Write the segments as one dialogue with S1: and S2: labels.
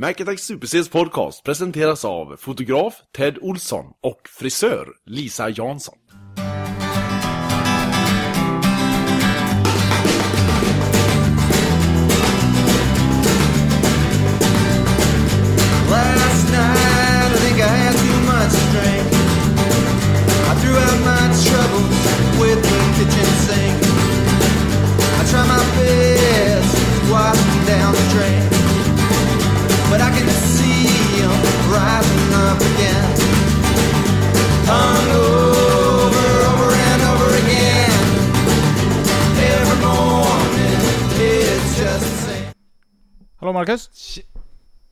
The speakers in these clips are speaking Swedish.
S1: Macattack SuperCs podcast presenteras av fotograf Ted Olsson och frisör Lisa Jansson.
S2: Last night, I think I had too much to drink. I threw out my troubles with the kitchen sink. I try my best to wash them down the drain, but I can see 'em rising up again. Hung over, over and over again. Every morning, it's just the same.
S3: Hallå Marcus?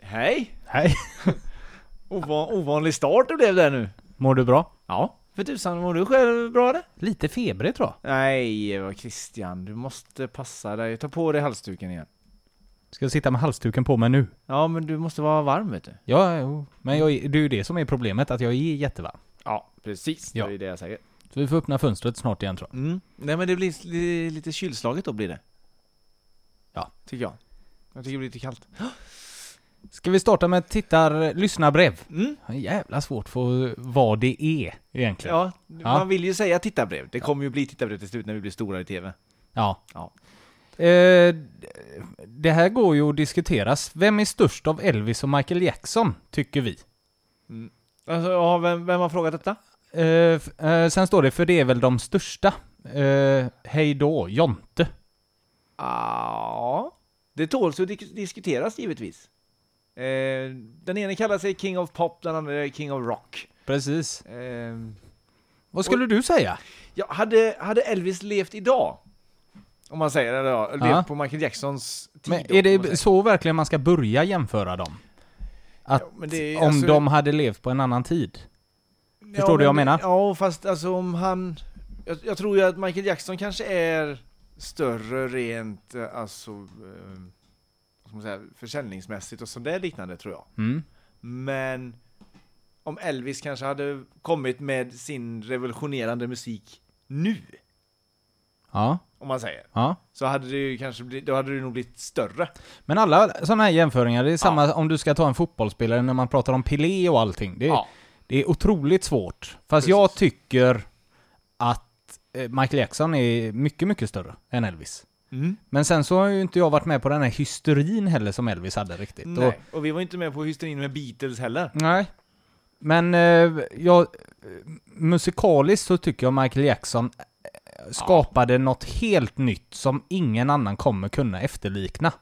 S4: Hej!
S3: Hej.
S4: Ovan, ovanlig start det blev där nu.
S3: Mår du bra?
S4: Ja. För tusan, mår du själv bra eller?
S3: Lite febrig tror jag.
S4: Nej, vad Christian, du måste passa dig. Ta på dig halsduken igen.
S3: Ska jag sitta med halsduken på mig nu?
S4: Ja, men du måste vara varm vet du.
S3: Ja, jo. Men jag, är- det är ju det som är problemet, att jag är jättevarm.
S4: Ja, precis.
S3: Ja.
S4: Det är det jag säger.
S3: Så vi får öppna fönstret snart igen tror jag.
S4: Mm. Nej men det blir li- lite kylslaget då blir det.
S3: Ja.
S4: Tycker jag. Jag tycker det blir lite kallt.
S3: Ska vi starta med tittar, lyssnarbrev?
S4: Mm.
S3: Det är jävla svårt för vad det är egentligen.
S4: Ja, man vill ju säga tittarbrev. Det kommer ju bli tittarbrev till slut när vi blir stora i TV.
S3: Ja.
S4: Ja.
S3: Eh, det här går ju att diskuteras. Vem är störst av Elvis och Michael Jackson, tycker vi?
S4: Alltså, ja, vem, vem har frågat detta?
S3: Eh, f- eh, sen står det, för det är väl de största. Eh, hej då, Jonte.
S4: Ja, det tåls att dis- diskuteras givetvis. Eh, den ene kallar sig King of Pop, den andra är King of Rock.
S3: Precis.
S4: Eh,
S3: Vad skulle du säga?
S4: ja, hade, hade Elvis levt idag? Om man säger det då,
S3: Ja.
S4: levt på Michael Jacksons tid.
S3: Men
S4: då,
S3: är
S4: om man
S3: det
S4: säger.
S3: så verkligen man ska börja jämföra dem? Att
S4: Ja, men det är-
S3: om
S4: alltså-
S3: de hade levt på en annan tid? förstår du vad jag
S4: men-
S3: menar?
S4: Ja, fast alltså om han... Jag, jag tror ju att Michael Jackson kanske är större rent eh, alltså, eh, vad ska man säga, försäljningsmässigt och sådär liknande tror jag.
S3: Mm.
S4: Men om Elvis kanske hade kommit med sin revolutionerande musik nu,
S3: Ja,
S4: om man säger,
S3: ja.
S4: så hade det ju kanske blivit, då hade det nog blivit större.
S3: Men alla sådana här jämföringar, det är samma om du ska ta en fotbollsspelare när man pratar om Pelé och allting. Det, är-
S4: Ja.
S3: det är otroligt svårt. Fast
S4: Precis.
S3: jag tycker att eh, Michael Jackson är mycket, mycket större än Elvis.
S4: Mm.
S3: Men sen så har ju inte jag varit med på den här hysterin heller som Elvis hade riktigt. Och-
S4: Nej. Och vi var inte med på hysterin med Beatles heller.
S3: Nej. Men eh, jag, eh, musikaliskt så tycker jag Michael Jackson eh, skapade något helt nytt som ingen annan kommer kunna efterlikna.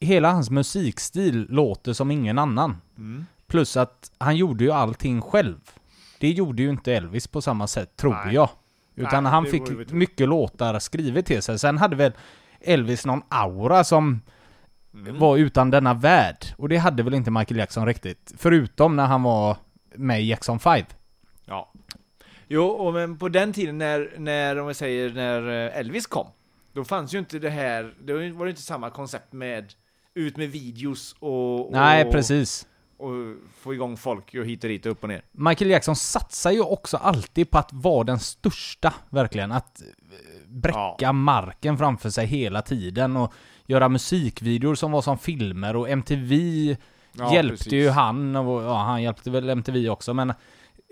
S3: Hela hans musikstil låter som ingen annan.
S4: Mm.
S3: Plus att han gjorde ju allting själv. Det gjorde ju inte Elvis på samma sätt, tror
S4: Nej.
S3: jag. Utan
S4: Nej,
S3: han
S4: det
S3: fick
S4: vore väl tråkigt.
S3: mycket låtar skrivet till sig. Sen hade väl Elvis någon aura som
S4: Mm.
S3: var utan denna värld. Och det hade väl inte Michael Jackson riktigt. Förutom när han var med i Jackson 5.
S4: Ja. Jo, och men på den tiden när, när, om vi säger, när eh, Elvis kom, då fanns ju inte det här, då var det inte samma koncept med ut med videos och, och,
S3: Nej, precis.
S4: och få igång folk och hit och dit och upp och ner.
S3: Michael Jackson satsar ju också alltid på att vara den största, verkligen. Att eh, bräcka marken framför sig hela tiden och göra musikvideor som var som filmer och MTV
S4: Ja,
S3: hjälpte
S4: precis.
S3: ju han och ja, han hjälpte väl MTV också men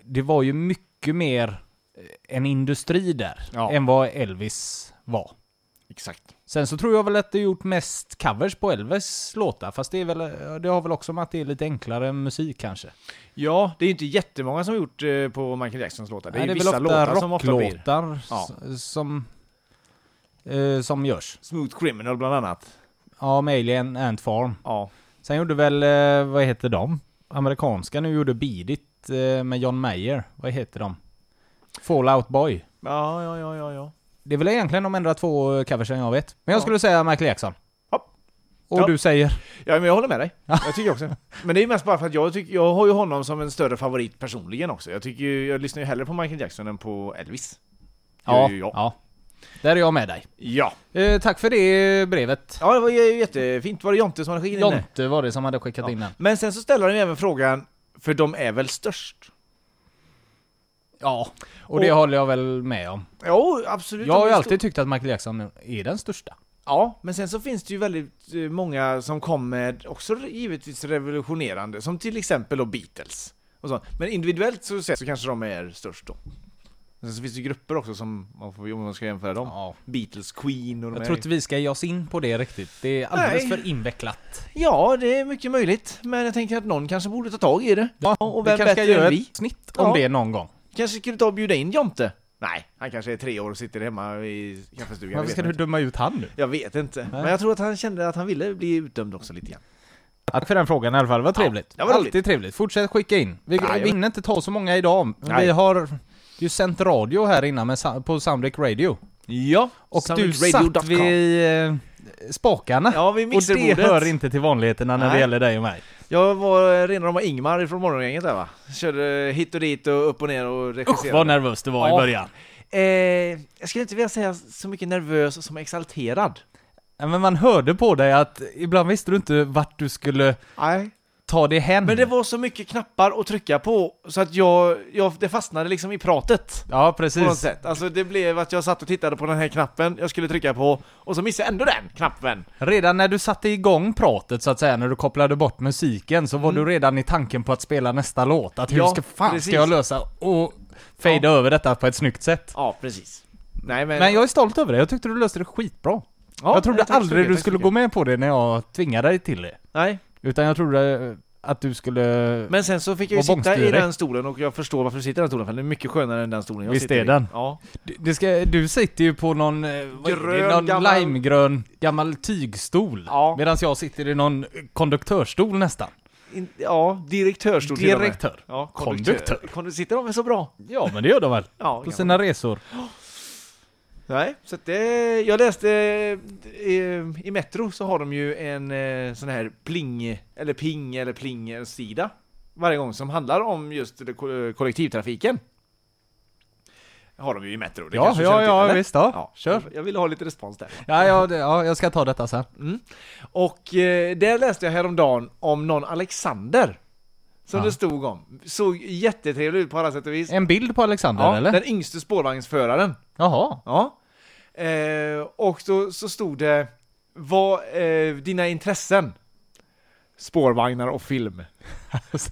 S3: det var ju mycket mer eh, en industri där
S4: Ja.
S3: än vad Elvis var.
S4: Exakt.
S3: Sen så tror jag väl att det gjort mest covers på Elvis låtar, fast det, är väl, det har väl också med att det är lite enklare musik kanske.
S4: Ja, det är ju inte jättemånga som har gjort eh, på Michael Jacksons låtar. Det är,
S3: Nej,
S4: ju vissa låtar som ofta blir.
S3: rocklåtar
S4: Ja.
S3: s- som, eh, som görs.
S4: Smooth Criminal bland annat.
S3: Ja, med Alien Ant Farm.
S4: Ja.
S3: Sen gjorde väl, eh, vad heter de? Amerikanska nu gjorde Beat It eh, med John Mayer. Vad heter de? Fallout Boy.
S4: Ja, ja, ja, ja, ja.
S3: Det är väl egentligen de enda två eh, coversen jag vet. Men jag
S4: Ja.
S3: skulle säga Michael Jackson.
S4: Hopp.
S3: Och
S4: Ja.
S3: du säger?
S4: Ja, men jag håller med dig. Jag tycker också. Men det är ju mest bara för att jag, tycker, jag har ju honom som en större favorit personligen också. Jag, tycker ju, jag lyssnar ju hellre på Michael Jackson än på Elvis. Gör
S3: Ja,
S4: ju jag.
S3: ja. Där är jag med dig.
S4: Ja.
S3: Eh, tack för det brevet.
S4: Ja, det var ju jättefint. Var det Jonte som hade skickat in det?
S3: Jonte var det som hade skickat in den.
S4: Men sen så ställer han ju även frågan, för de är väl störst?
S3: Ja, och det
S4: Och-
S3: håller jag väl med om.
S4: Jo, absolut.
S3: Jag har
S4: de
S3: ju
S4: är
S3: alltid tyckt att Michael Jackson är den största.
S4: stor- Ja, men sen så finns det ju väldigt eh, många som kom med också givetvis revolutionerande, som till exempel då Beatles. Och så. Men individuellt så, sett så kanske de är störst då. Men sen så finns det ju grupper också som, man får, om man ska jämföra dem.
S3: Ja.
S4: Beatles, Queen och de
S3: Jag
S4: här.
S3: tror inte vi ska ge oss in på det riktigt. Det är alldeles
S4: Nej.
S3: för invecklat.
S4: Ja, det är mycket möjligt. Men jag tänker att någon kanske borde ta tag i det. Ja, och vem
S3: vi kanske ska
S4: bättre
S3: göra
S4: än
S3: ett
S4: vi?
S3: snitt om
S4: Ja.
S3: det någon gång.
S4: Kanske skulle ta och bjuda in Jonte? Nej, han kanske är tre år och sitter hemma i kaffestugan. jag
S3: Varför
S4: vet
S3: ska du
S4: inte.
S3: döma ut han nu?
S4: Jag vet inte.
S3: Nej.
S4: Men jag tror att han kände att han ville bli utdömd också lite grann.
S3: Tack för den frågan i alla fall, det var trevligt.
S4: det var roligt.
S3: Alltid trevligt. Fortsätt skicka in. Vi,
S4: Ja, jag-
S3: vi hinner inte ta så många idag.
S4: Nej.
S3: Vi har ju sänt radio här innan med, Sa- på Soundbreak Radio.
S4: Ja,
S3: Och du satt vid eh, spakarna.
S4: Ja, vid
S3: och det hör
S4: mixerbordet.
S3: inte till vanligheterna när
S4: Nej.
S3: det gäller dig och mig.
S4: Jag var rena rama Ingmar från morgongänget där va? Körde hit och dit och upp och ner och regisserade.
S3: Vad nervös du var
S4: Ja.
S3: i början.
S4: eh, jag skulle inte vilja säga så mycket nervös som exalterad.
S3: Ja, Men man hörde på dig att ibland visste du inte vart du skulle
S4: Nej.
S3: ta dig hem.
S4: Men det var så mycket knappar att trycka på så att jag, jag det fastnade liksom i pratet.
S3: Ja,
S4: På något
S3: precis.
S4: sätt. Alltså det blev att jag satt och tittade på den här knappen jag skulle trycka på och så missade jag ändå den knappen.
S3: Redan när du satte igång pratet så att säga, när du kopplade bort musiken, så var du redan i tanken på att spela nästa låt. Att hur
S4: Ja,
S3: ska, fan
S4: precis.
S3: ska jag lösa och fejda över detta på ett snyggt sätt.
S4: Ja, precis. Nej men...
S3: Men jag är stolt över det, jag tyckte du löste det skitbra.
S4: Ja,
S3: jag trodde
S4: tack så
S3: aldrig
S4: mycket,
S3: du
S4: tack så
S3: skulle
S4: mycket.
S3: gå med på det när jag tvingade dig till det.
S4: Nej,
S3: Utan jag trodde eh, att du skulle...
S4: Men sen så fick jag ju sitta
S3: Och
S4: i
S3: bångstyrig.
S4: den stolen och jag förstår varför du sitter i den stolen, för den är mycket skönare än den stolen jag
S3: Visst
S4: sitter
S3: är
S4: i.
S3: den.
S4: Ja.
S3: Du- Det ska, du sitter ju på någon, eh, vad är det?
S4: Grön,
S3: någon
S4: gammal-
S3: limegrön gammal tygstol.
S4: Ja.
S3: Medan jag sitter i någon konduktörstol nästan.
S4: In, ja, direktörstol till och med.
S3: Direktör.
S4: Ja,
S3: Konduktör.
S4: Kondu- sitter de väl så bra?
S3: Ja men det gör de väl?
S4: Ja,
S3: På
S4: kanske.
S3: sina resor.
S4: Nej, så att det, jag läste eh, i Metro så har de ju en eh, sån här pling, eller ping, eller pling sida varje gång som handlar om just det, ko- kollektivtrafiken. Har de ju i Metro, det
S3: Ja,
S4: kanske du känner
S3: ja,
S4: till,
S3: ja
S4: eller?
S3: visst ja.
S4: Ja,
S3: Kör.
S4: Jag ville ha lite respons där.
S3: Ja, ja, det, ja, jag ska ta detta sen.
S4: Och eh, där läste jag häromdagen om någon Alexander. Som
S3: Ja.
S4: det stod om. Såg jättetrevlig ut på alla sätt och vis.
S3: En bild på Alexander
S4: ja,
S3: eller?
S4: Den yngste spårvagnsföraren.
S3: Jaha.
S4: Ja. Eh, och då, så stod det vad eh, dina intressen? Spårvagnar och film.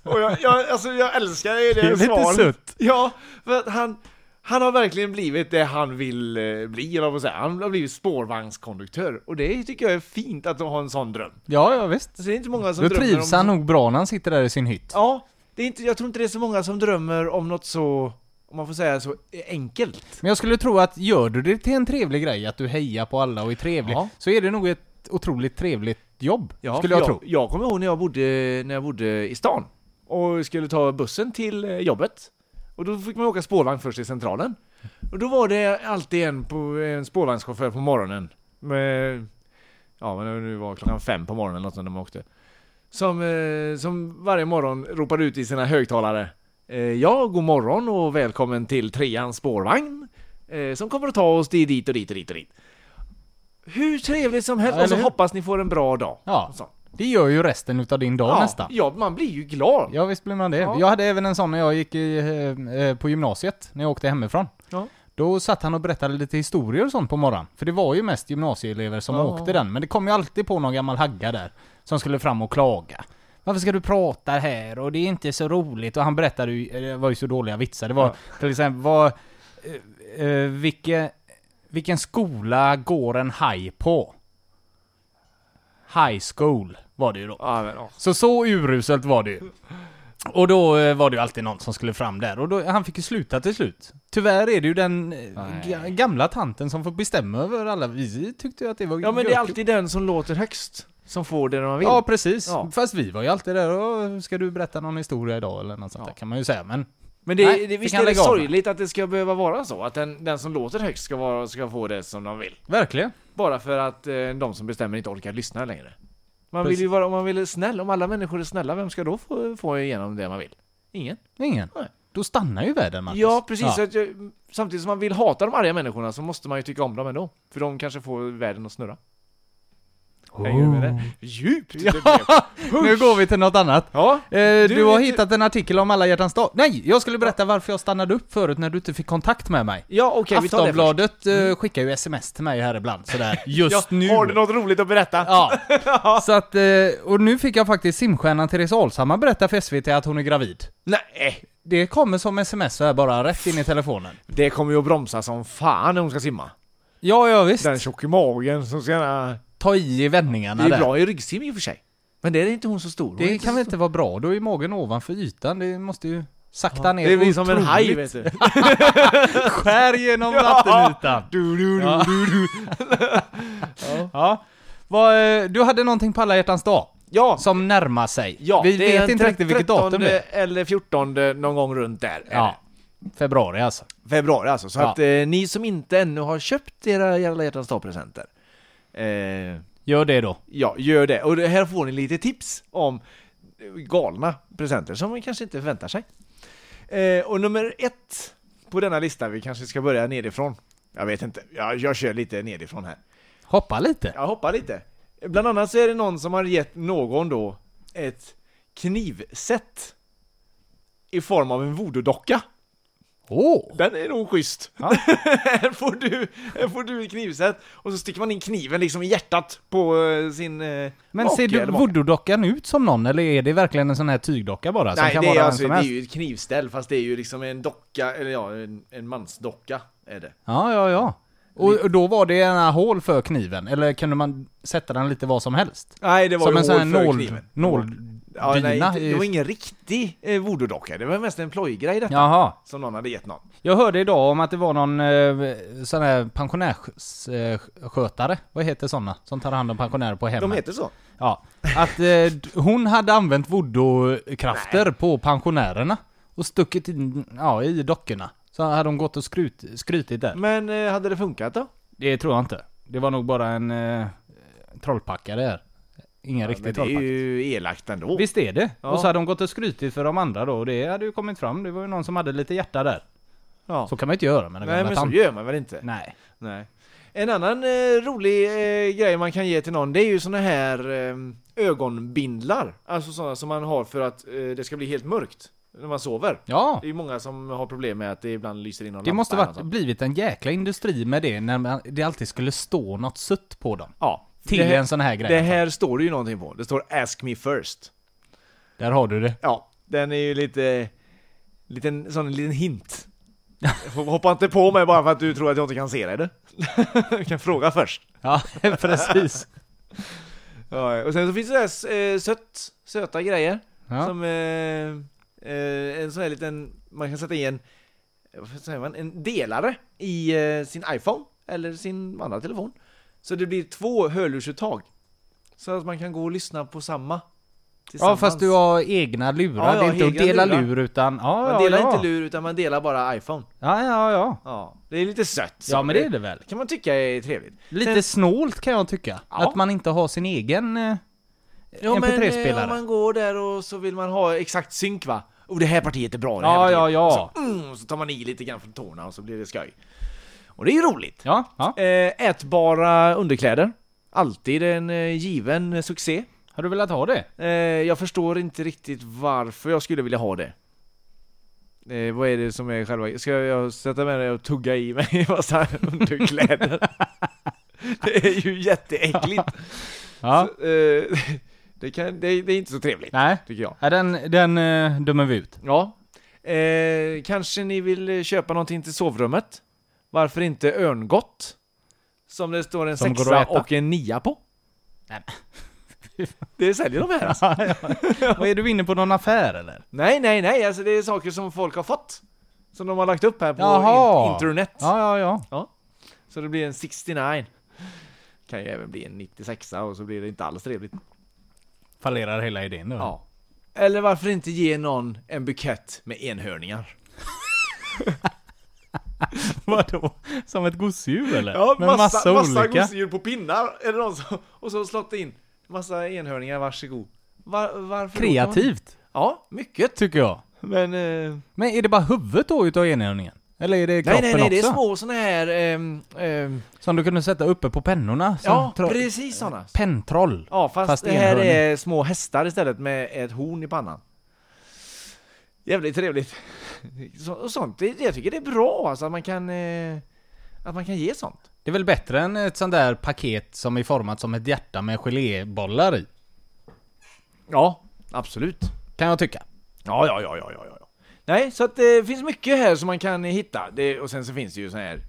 S4: och jag, jag, alltså, jag älskar ju det,
S3: Det är lite
S4: svaret.
S3: sutt.
S4: Ja, för att han, han har verkligen blivit det han vill eh, bli. Eller vad säga. Han har blivit spårvagnskonduktör. Och det tycker jag är fint att ha en sån dröm.
S3: Ja, ja visst.
S4: Så det är inte många som
S3: Då
S4: drömmer
S3: trivs
S4: om...
S3: han nog bra när han sitter där i sin hytt.
S4: Ja, det är inte, jag tror inte det är så många som drömmer om något så, om man får säga så, e-, enkelt.
S3: Men jag skulle tro att gör du det till en trevlig grej, att du hejar på alla och är trevlig,
S4: Ja.
S3: så är det nog ett otroligt trevligt jobb, skulle jag, tro.
S4: Jag kommer ihåg när jag bodde, när jag bodde i stan och skulle ta bussen till eh, jobbet. Och då fick man åka spårvagn först till centralen. Och då var det alltid en, på, en spårvagnschaufför på morgonen. Med, ja, men det nu var klockan fem på morgonen eller något sånt när man åkte. Som, eh, som varje morgon ropade ut i sina högtalare. Eh, ja, god morgon och välkommen till treans spårvagn. Eh, som kommer att ta oss till dit och dit och dit och dit. Hur trevligt som helst.
S3: Ja,
S4: och så
S3: eller hur?
S4: hoppas ni får en bra dag.
S3: Ja,
S4: Och så.
S3: det gör ju resten utav din dag
S4: Ja,
S3: nästan.
S4: ja, man blir ju glad.
S3: Ja, visst blir man det.
S4: Ja.
S3: Jag hade även en sån när jag gick i, eh, eh, på gymnasiet, när jag åkte hemifrån.
S4: Ja.
S3: Då satt han och berättade lite historier och sånt på morgonen. För det var ju mest gymnasieelever som
S4: Ja.
S3: åkte den. Men det kom ju alltid på någon gammal hagga där. Som skulle fram och klaga. Varför ska du prata här? Och det är inte så roligt. Och han berättade ju, eh, det var ju så dåliga vitsar. Det var till exempel, vad, eh, eh, vilke, vilken skola går en haj på? High school var det ju då.
S4: Ja, men, ja.
S3: Så så uruselt var det ju. Och då eh, var det ju alltid någon som skulle fram där och då, han fick ju sluta till slut. Tyvärr är det ju den eh, ga- gamla tanten som får bestämma över alla. Vi tyckte ju att det var
S4: ja, men det är
S3: görkul.
S4: alltid den som låter högst som får det man vill.
S3: Ja precis,
S4: Ja.
S3: fast vi var ju alltid där och ska du berätta någon historia idag eller något sånt där kan man ju säga men
S4: men det,
S3: nej,
S4: det,
S3: det
S4: visst
S3: kan
S4: är det
S3: lägga av med.
S4: sorgligt att det ska behöva vara så? Att den, den som låter högst ska, vara, ska få det som de vill.
S3: verkligen.
S4: Bara för att eh, de som bestämmer inte orkar lyssna längre. Man
S3: Precis.
S4: vill ju vara, om man vill snäll, om alla människor är snälla, vem ska då få, få igenom det man vill? Ingen.
S3: Ingen.
S4: Nej.
S3: Då stannar ju världen Marcus.
S4: Ja, precis. Så att jag, samtidigt som man vill hata de arga människorna så måste man ju tycka om dem ändå. För de kanske får världen att snurra. Hänger du med det? Djupt det blev.
S3: Nu går vi till något annat.
S4: Ja.
S3: Eh, du,
S4: Du
S3: har
S4: vet ju-
S3: hittat en artikel om alla hjärtans dag. Nej, jag skulle berätta varför jag stannade upp förut när du inte fick kontakt med mig.
S4: Ja, okej, vi tar det först. Mm.
S3: Aftonbladet eh, skickar ju sms till mig här ibland sådär, just
S4: Ja,
S3: nu.
S4: Har du något roligt att berätta?
S3: Ja. Så att, eh, och nu fick jag faktiskt simstjärnan Therese Alshammar berätta för SVT att hon är gravid.
S4: Nej,
S3: Det kommer som sms så här bara, rätt in i telefonen.
S4: det kommer ju att bromsa som fan när hon ska simma.
S3: Ja, ja visst.
S4: Den tjock i magen som ska gärna...
S3: Ta i i
S4: Det
S3: vändningarna
S4: är
S3: där.
S4: bra i ryggsim i och för sig. Men det är inte hon så stor. Hon är
S3: Det
S4: inte
S3: kan
S4: så
S3: väl inte vara bra? Då är magen ovanför ytan, det måste ju sakta ner
S4: Det blir som en haj vet du.
S3: Skär genom
S4: Ja.
S3: vattenytan.
S4: du, du, du.
S3: Ja. ja. Vad, eh, du hade någonting på alla hjärtans dag
S4: Ja,
S3: som närmar sig.
S4: ja,
S3: Vi
S4: det
S3: vet
S4: är
S3: inte riktigt vilket datum det är.
S4: 13 eller 14 någon gång runt där. är
S3: Ja. Februari alltså.
S4: det. Februari alltså. Så
S3: Ja.
S4: att eh, ni som inte ännu har köpt era Alla hjärtans dag-presenter. Eh,
S3: Gör det då.
S4: ja, gör det. Och det här får ni lite tips om eh, galna presenter som man kanske inte förväntar sig. Eh, och nummer ett på denna lista, vi kanske ska börja nedifrån. Jag vet inte, jag, jag kör lite nedifrån här.
S3: Hoppa lite.
S4: Jag hoppar lite. Bland annat så är det någon som har gett någon då ett knivset i form av en voodoo-docka.
S3: Åh!
S4: Den är nog schysst. här, får du, här får du ett knivset och så sticker man in kniven liksom i hjärtat på eh, sin eh,
S3: Men
S4: make
S3: ser du
S4: eller maka.
S3: voodoo-dockan ut som någon eller är det verkligen en sån här tygdocka bara? Som
S4: Nej,
S3: kan
S4: det är,
S3: vara
S4: alltså,
S3: vem
S4: det
S3: som
S4: är
S3: helst?
S4: ju ett knivställ fast det är ju liksom en docka, eller ja, en, en mansdocka är det.
S3: Ja, ja, ja. Och och då var det en hål för kniven, eller kunde man sätta den lite var som helst?
S4: Nej, det var
S3: Som
S4: ju
S3: en sån här
S4: hål för
S3: nål...
S4: kniven. Ja, nej,
S3: nåldina?
S4: inte-
S3: i-
S4: det var ingen riktig eh, voodoo-docka, det var mest en plojgrej detta.
S3: Jaha.
S4: Som någon hade gett någon.
S3: Jag hörde idag om att det var någon eh, sån här pensionärsskötare, vad heter såna? Som tar hand om pensionärer på hemmet.
S4: De heter så.
S3: Ja. Att eh, d- hon hade använt voodoo-krafter på pensionärerna och stuckit in, ja, i dockorna. Så hade hon gått och skrut, skrytit där.
S4: Men eh, hade det funkat då?
S3: Det tror jag inte. Det var nog bara en eh, trollpackare här. Ingen riktig
S4: Men det är
S3: trollpackare.
S4: ju elakt ändå.
S3: Visst är det?
S4: Ja.
S3: Och så hade hon gått och skrytit för de andra då och det hade ju kommit fram. Det var ju någon som hade lite hjärta där.
S4: Ja.
S3: Så kan man ju inte göra med den
S4: Nej
S3: gamla
S4: men så
S3: tanten.
S4: gör man väl inte?
S3: Nej.
S4: Nej. En annan eh, rolig eh, grej man kan ge till någon det är ju såna här eh, ögonbindlar. Alltså sådana som man har för att eh, det ska bli helt mörkt när man sover.
S3: Ja.
S4: Det är ju alltså. många som har problem med att det ibland lyser in någon
S3: Det
S4: lampa
S3: måste
S4: eller
S3: varit,
S4: något sånt.
S3: blivit en jäkla industri med det när man, det alltid skulle stå något sutt på dem.
S4: Ja.
S3: Till
S4: det här,
S3: en sån här grej.
S4: Det här står det ju någonting på. Det står 'Ask me first'.
S3: Där har du det.
S4: Ja, den är ju lite... Liten, sån en liten hint. Hoppa inte på mig bara för att du tror att jag inte kan se dig. du. Du kan fråga först.
S3: Ja, precis.
S4: Ja, och sen så finns det där eh, sött, söta grejer.
S3: Ja.
S4: Som eh, eh, en sån här liten, man kan sätta i en, vad säger man, en delare i eh, sin iPhone eller sin andra telefon. Så det blir två hörlursuttag. Så att man kan gå och lyssna på samma.
S3: ja,
S4: tillsammans.
S3: fast du har egna
S4: Ja,
S3: lurar.
S4: ja,
S3: det är inte att
S4: egna
S3: dela
S4: lurar.
S3: lur utan... Ja,
S4: Man
S3: ja,
S4: delar
S3: ja.
S4: inte lur utan man delar bara iPhone.
S3: Ja, ja, ja.
S4: Ja, det är lite sött. så.
S3: Ja, men det är det väl.
S4: kan man tycka är trevligt.
S3: Lite snålt kan jag tycka.
S4: Ja.
S3: Att man inte har sin egen eh,
S4: Ja, men eh,
S3: MP3-spelare.
S4: om man går där och så vill man ha exakt synk va? Och det här partiet är bra, det här
S3: Ja,
S4: partiet.
S3: ja, ja.
S4: Mm, och så tar man i lite grann från tårna och så blir det skoj. Och det är ju roligt.
S3: Ja, ja.
S4: Eh, ätbara underkläder. Alltid en eh, given succé.
S3: Har du velat ha det?
S4: Eh, jag förstår inte riktigt varför jag skulle vilja ha det. Eh, vad är det som är själva... Ska jag sätta med mig och tugga i mig en massa underkläder? det är ju jätteäckligt.
S3: Ja.
S4: Så, eh, det, kan, det, det är inte så trevligt,
S3: Nej.
S4: tycker jag.
S3: Ja, den, den eh, dömer vi ut.
S4: Ja. Eh, kanske ni vill eh, köpa någonting till sovrummet? Varför inte örngott? Som det står en
S3: Som går
S4: sexa
S3: att äta.
S4: och en nia på.
S3: Nej,
S4: Det säljer de här alltså.
S3: Vad är du inne på någon affär eller?
S4: Nej, nej, nej. Alltså det är saker som folk har fått. Som de har lagt upp här på
S3: Jaha.
S4: in- internet.
S3: Ja, ja, ja.
S4: Så det blir en 69. Kan ju även bli en 96 och så blir det inte alls trevligt.
S3: Fallerar hela idén nu.
S4: Ja. Eller varför inte ge någon en bukett med enhörningar?
S3: Vadå? Som ett gosedjur eller?
S4: Ja,
S3: Med
S4: massa, massa,
S3: olika?
S4: gosedjur på pinnar är det någon som, och så slått in massa enhörningar, varsågod. Var, varför då?
S3: Kreativt,
S4: Ja, mycket.
S3: tycker jag.
S4: Men eh,
S3: Men är det bara huvudet då utav enhörningen? Eller är det
S4: Nej,
S3: kroppen
S4: nej, nej, det är
S3: också?
S4: små såna här... ehm, ehm,
S3: Som du kunde sätta uppe på pennorna? som
S4: ja,
S3: tro-
S4: precis såna.
S3: Penntroll.
S4: Ja, fast,
S3: Fast
S4: det här
S3: enhörning.
S4: är små hästar istället med ett horn i pannan. Jävligt trevligt. Så, och sånt. Det, jag tycker det är bra alltså, att man kan... Eh, att man kan ge sånt.
S3: Det är väl bättre än ett sånt där paket som är format som ett hjärta med gelébollar i?
S4: Ja, absolut.
S3: Kan jag tycka.
S4: Ja, ja, ja, ja, ja, ja. Nej, så att det finns mycket här som man kan eh, hitta. Det, och sen så finns det ju så här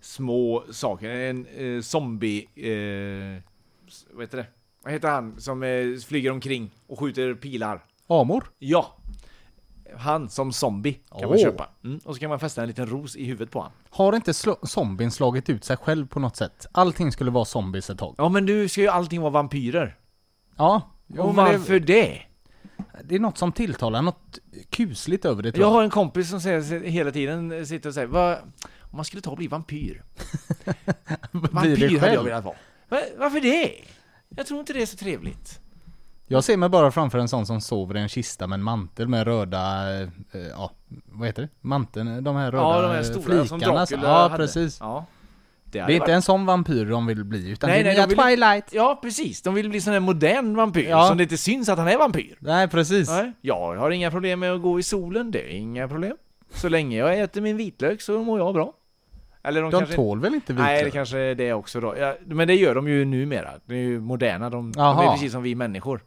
S4: små saker. En eh, zombie... Eh, s- vad heter det? Vad heter han som eh, flyger omkring och skjuter pilar?
S3: Amor?
S4: Ja. Han som zombie kan man
S3: Åh.
S4: köpa. Mm. Och så kan man fästa en liten ros i huvudet på han.
S3: Har inte sl- zombien slagit ut sig själv på något sätt? Allting skulle vara zombies ett tag.
S4: Ja men nu ska ju allting vara vampyrer.
S3: Ja.
S4: och
S3: men det,
S4: varför det?
S3: det är något som tilltalar, något kusligt över det tror
S4: Jag
S3: jag.
S4: har en kompis som säger, hela tiden eh, sitter och säger Vad, om man skulle ta och bli vampyr.
S3: Blir det
S4: Vampyr hade jag
S3: själv.
S4: velat vara. Va, varför det? Jag tror inte det är så trevligt.
S3: Jag ser mig bara framför en sån som sover i en kista med en mantel med röda, eh, eh, ja, vad heter det? Manteln, de här röda
S4: ja, de här
S3: eh,
S4: stora som
S3: flikarna.
S4: Dracula
S3: ja,
S4: hade.
S3: precis.
S4: Ja, det,
S3: Det
S4: hade
S3: är
S4: varit-
S3: inte en sån vampyr de vill bli, utan
S4: Nej,
S3: det är
S4: nej,
S3: nya
S4: de vill-
S3: Twilight.
S4: Ja, precis. De vill bli sån här modern vampyr
S3: Ja.
S4: som det inte syns att han är vampyr.
S3: Nej, precis.
S4: Nej, jag har inga problem med att gå i solen, det är inga problem. Så länge jag äter min vitlök så mår jag bra. Eller de,
S3: De
S4: kanske...
S3: tål väl inte
S4: Nej, det
S3: vitlök?
S4: kanske är det också då. Ja, men det gör de ju numera. De är ju moderna, de, de är
S3: Jaha.
S4: precis som vi människor.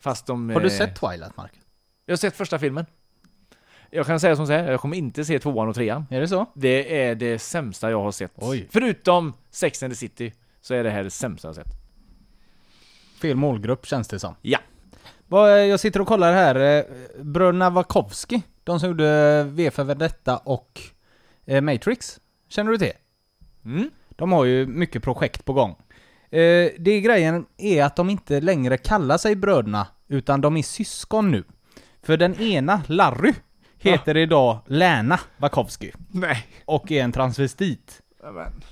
S4: Fast de...
S3: Har du
S4: eh,
S3: sett Twilight, Mark?
S4: Jag har sett första filmen. Jag kan säga som så här, jag kommer inte se tvåan och trean.
S3: Är det så?
S4: Det är det sämsta jag har sett.
S3: Oj.
S4: Förutom Sex and the City, så är det här det sämsta jag har sett.
S3: Fel målgrupp känns det som.
S4: Ja.
S3: Vad, eh, Jag sitter och kollar här, eh, bröderna Wachowski, de som gjorde eh, V för Vendetta och eh, Matrix. Känner du till?
S4: Mm.
S3: De har ju mycket projekt på gång. Eh, Det grejen är att de inte längre kallar sig bröderna, utan de är syskon nu. För den ena, Larry, heter idag Lärna Wachowski
S4: Nej.
S3: och är en transvestit.
S4: Men.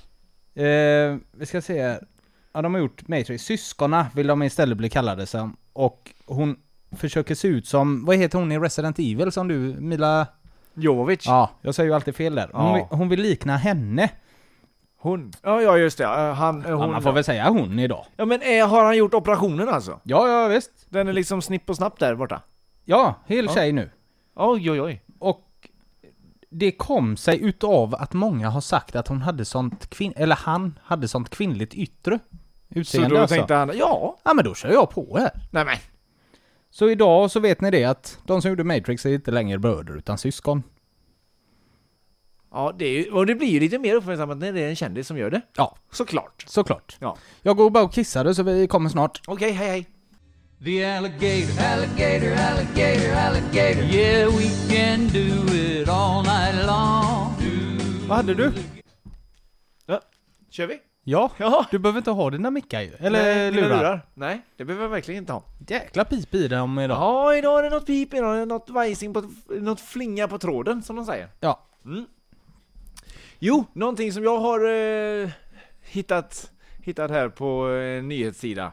S3: Eh, vi ska se här. Ja, de har gjort Matrix. Syskona vill de istället bli kallade som. Och hon försöker se ut som, vad heter hon i Resident Evil som du, Mila?
S4: Jovovich.
S3: Ja, jag säger ju alltid fel där. Hon,
S4: Ja.
S3: vill, hon vill likna henne.
S4: Hon. Ja, ja just det. Eh, Han, eh,
S3: Ja,
S4: hon.
S3: man får väl säga hon idag.
S4: Ja men eh, har han gjort operationen alltså?
S3: Ja, ja visst.
S4: Den är liksom snipp och snapp där borta?
S3: Ja, hel tjej nu.
S4: Oj oj oj.
S3: Och det kom sig utav att många har sagt att hon hade sånt kvinn... Eller han hade sånt kvinnligt yttre
S4: Så
S3: utseende
S4: då
S3: alltså.
S4: tänkte han, ja,
S3: Ja men då kör jag på här.
S4: nej men.
S3: Så idag så vet ni det att de som gjorde Matrix är inte längre bröder utan syskon.
S4: Ja, det, är ju, och det blir ju lite mer uppmärksammat när det är en kändis som gör det.
S3: Ja,
S4: Såklart.
S3: såklart.
S4: Ja.
S3: Jag går bara och kissade så vi kommer snart.
S4: Okej, hej hej.
S5: The alligator, alligator, alligator, alligator. Yeah, we can do it all night long.
S4: Vad hade du? Ja, kör vi?
S3: Ja,
S4: Ja.
S3: du behöver inte ha dina mickar ju. Eller
S4: Nej, mina
S3: lurar.
S4: Nej, det behöver jag verkligen inte ha.
S3: Jäkla pip i dem idag. Ja.
S4: Ja, idag är det något pip, idag är det något vajsing på, något flinga på tråden som de säger.
S3: ja.
S4: Jo, någonting som jag har eh, hittat, hittat här på eh, en nyhetssida.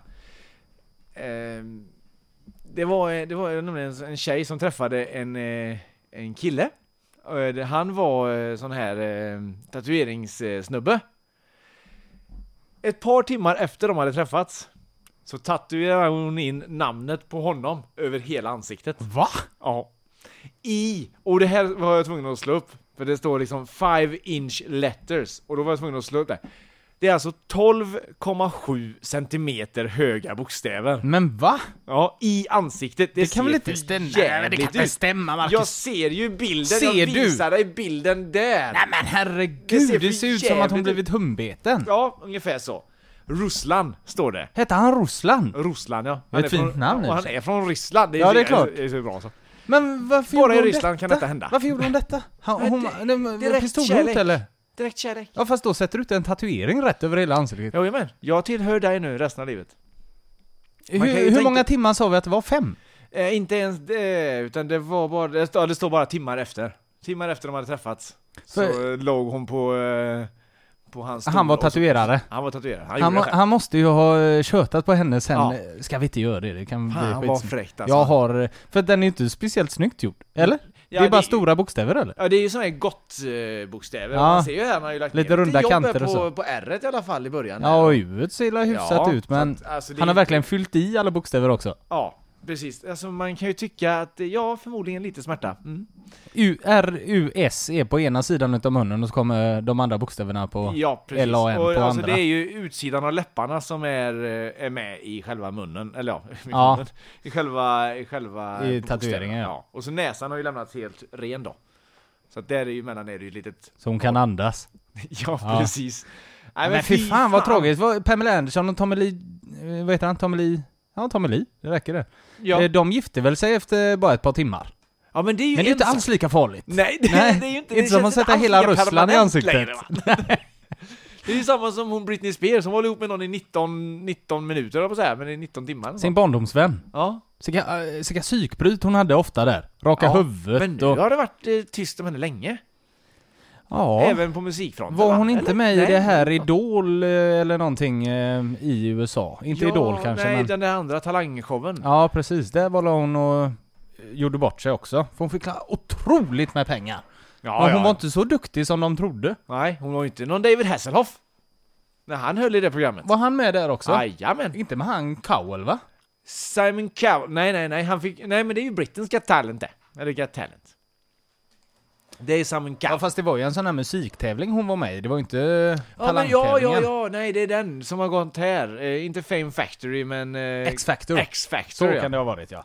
S4: Eh, det var, eh, det var nämligen en tjej som träffade en, eh, en kille. Eh, det- Han var eh, sån här eh, tatueringssnubbe. Ett par timmar efter de hade träffats så tatuerade hon in namnet på honom över hela ansiktet.
S3: Va?
S4: Ja. I, och det här var jag tvungen att slå upp, för det står liksom 5 inch letters, och då var jag tvungen att slå upp det. Det är alltså 12,7 centimeter höga bokstäver.
S3: Men va?
S4: Ja, i ansiktet. Det,
S3: Mm.
S4: ser
S3: kan väl inte
S4: för
S3: stämma? Nej, men det kan
S4: jävligt
S3: inte
S4: ut.
S3: stämma, Marcus.
S4: Jag ser ju bilden,
S3: Ser
S4: jag
S3: du?
S4: visar dig bilden där.
S3: Nej men herregud,
S4: Det ser
S3: det ser,
S4: för
S3: ut som att
S4: jävligt
S3: hon
S4: ut.
S3: blivit humbeten.
S4: Ja, ungefär så. Ruslan, står det.
S3: Hette han Ruslan?
S4: Ruslan ja.
S3: är ett
S4: från,
S3: fint namn, i
S4: Och
S3: och
S4: han
S3: för
S4: är från Ryssland.
S3: Ja,
S4: så-
S3: det är klart.
S4: Det är så bra så.
S3: Men varför
S4: Bara
S3: gjorde
S4: i
S3: hon
S4: Ryssland kan detta hända.
S3: Varför gjorde hon detta? Han,
S4: Men
S3: hon,
S4: det-
S3: det,
S4: direkt kärlek.
S3: pistolhot eller?
S4: Direkt kärlek.
S3: Ja fast då sätter du ut en tatuering rätt över hela ansiktet.
S4: Jajamän, jag tillhör dig nu resten av livet. kan ju
S3: Hur, hur
S4: tänka-
S3: många timmar sa vi att det var? Fem?
S4: Eh, inte ens det, utan det var bara, det, ja, det står bara timmar efter. Timmar efter de hade träffats. Så
S3: För-
S4: eh, låg hon på, eh, på hans stol
S3: Han var
S4: och så-
S3: tatuerare.
S4: Han var tatuerad, han,
S3: Han,
S4: gjorde
S3: må,
S4: det själv.
S3: han måste ju ha eh, tjötat på henne sen.
S4: Ja.
S3: eh, Ska vi inte göra det? Det kan
S4: Fan
S3: bli
S4: han var
S3: skitsnack. eh,
S4: fräckt alltså.
S3: Jag har... För den är ju inte speciellt snyggt gjord. Eller? det är bara
S4: det-
S3: stora bokstäver eller?
S4: Ja det är ju såna här gott-bokstäver,
S3: Ja.
S4: man ser ju här, man har ju lagt
S3: Lite
S4: ner
S3: runda
S4: jobb
S3: kanter
S4: på,
S3: och så.
S4: på r i alla fall i början.
S3: Ja, och huvudet ser illa hyfsat
S4: Ja,
S3: ut men
S4: så att, alltså, det
S3: han har
S4: är-
S3: verkligen fyllt i alla bokstäver också.
S4: Ja, precis. Alltså man kan ju tycka att, eh, ja förmodligen lite smärta. Mm.
S3: U R U S är på ena sidan utav munnen och så kommer de andra bokstäverna på
S4: Ja, precis.
S3: L A N på
S4: och, alltså,
S3: andra.
S4: Det är ju utsidan av läpparna som är, eh, är med i själva munnen, eller ja, i,
S3: Ja.
S4: munnen. I själva... I, själva
S3: I
S4: bokstäverna.
S3: tatueringen, ja.
S4: Och så näsan har ju lämnats helt ren då. Så att där är ju mellan är det ju ett litet...
S3: Så hon kan andas.
S4: Ja,
S3: Ja.
S4: precis. Nej,
S3: Men, fy fan, vad tråkigt. Vad- Pamela Anderson och Tommy Lee, eh, vad heter han? Tommy Lee? Ja, Tommy Lee. Det räcker det.
S4: Ja.
S3: Eh, De gifte väl sig efter bara ett par timmar.
S4: ja, men det är ju
S3: Men det är inte
S4: en
S3: alls lika farligt.
S4: Nej, det,
S3: Nej,
S4: det är ju inte...
S3: inte
S4: det
S3: som
S4: känns
S3: att sätta
S4: alls
S3: hela
S4: lika
S3: Ryssland i
S4: permanent
S3: ansiktet.
S4: längre, va? det är ju samma som hon Britney Spears, hon var ihop med någon i 19, 19 minuter, höll jag på så här, men i 19 timmar. eller
S3: Sin
S4: något.
S3: barndomsvän.
S4: Ja.
S3: Sika, eh, sika psykbryt hon hade ofta där. Raka
S4: Ja, Men
S3: huvudet
S4: nu
S3: och...
S4: har det varit eh, tyst om henne länge.
S3: Ja.
S4: Även på musikfronten.
S3: Var
S4: va?
S3: hon inte
S4: Eller?
S3: med i
S4: Nej.
S3: det här Idol eh, eller någonting eh, i USA? Inte
S4: ja,
S3: Idol kanske
S4: Nej,
S3: men...
S4: den där andra talangshowen.
S3: Ja precis, där var hon och eh, gjorde bort sig också. För hon fick la- otroligt med pengar.
S4: Ja,
S3: Men hon
S4: ja.
S3: var inte så duktig som de trodde.
S4: Nej, hon var ju inte någon David Hasselhoff. När han höll i det programmet.
S3: Var han med där också?
S4: Jajamän.
S3: Inte med han Cowell va?
S4: Simon Cowell. Nej, nej, nej, han fick... Nej, men det är ju Britain's Got Talent det. Eller Got Talent. Det är Simon Cowell.
S3: Ja fast det var ju en sån här musiktävling hon var med i, det var ju inte eh,
S4: Ja, men ja, ja,
S3: talangtävlingen.
S4: ja, nej det är den som har gått här. Eh, inte Fame Factory men... Eh,
S3: X-Factor. Så
S4: X-Factor, ja.
S3: kan
S4: Det...
S3: det ha varit ja.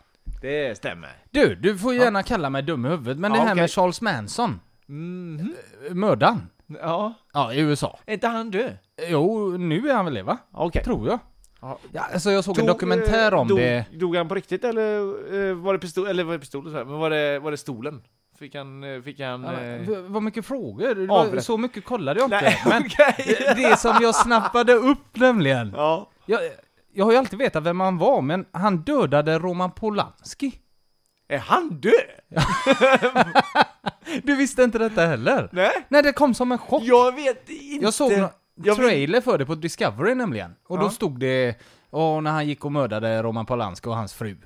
S4: stämmer.
S3: Du, du får gärna kalla mig dum i huvudet, men
S4: Ja,
S3: det här
S4: okej.
S3: med Charles Manson,
S4: Mhm.
S3: eh, mördaren,
S4: Ja,
S3: ja i USA.
S4: är inte han död?
S3: Jo, nu är han väl det va?
S4: Okej.
S3: Tror jag.
S4: Ja.
S3: Ja, alltså jag såg
S4: Dog,
S3: en dokumentär
S4: eh,
S3: om
S4: dog,
S3: det.
S4: Dog han på riktigt eller eh, var det pistol, eller var det pistol och så här, men var det, var det stolen? Fick han, eh, fick han...
S3: Ja,
S4: eh,
S3: men, v- vad mycket frågor, Det
S4: Avrätt-
S3: var- så mycket kollade jag inte.
S4: Nej,
S3: men
S4: okej!
S3: det- det som jag snappade upp nämligen.
S4: Ja.
S3: Jag, jag har ju alltid vetat vem han var, men han dödade Roman Polanski.
S4: Är han död?
S3: Du visste inte detta heller?
S4: Nej?
S3: Nej, det kom som en chock.
S4: Jag vet inte!
S3: Jag såg en
S4: jag vet-
S3: trailer för det på Discovery nämligen. Och då
S4: Ja.
S3: stod det, åh, när han gick och mördade Roman Polanski och hans fru.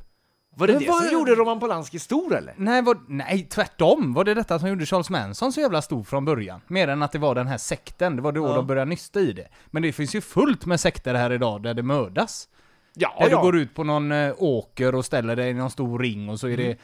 S4: Var det
S3: Men
S4: det
S3: vad-
S4: som gjorde Roman Polanski stor eller?
S3: Nej, vad, nej, tvärtom var det detta som gjorde Charles Manson så jävla stor från början. Mer än att det var den här sekten, det var då de började nysta i det. Men det finns ju fullt med sekter här idag där det mördas.
S4: Ja,
S3: Där
S4: ja.
S3: du går ut på någon eh, åker och ställer dig i någon stor ring och så är det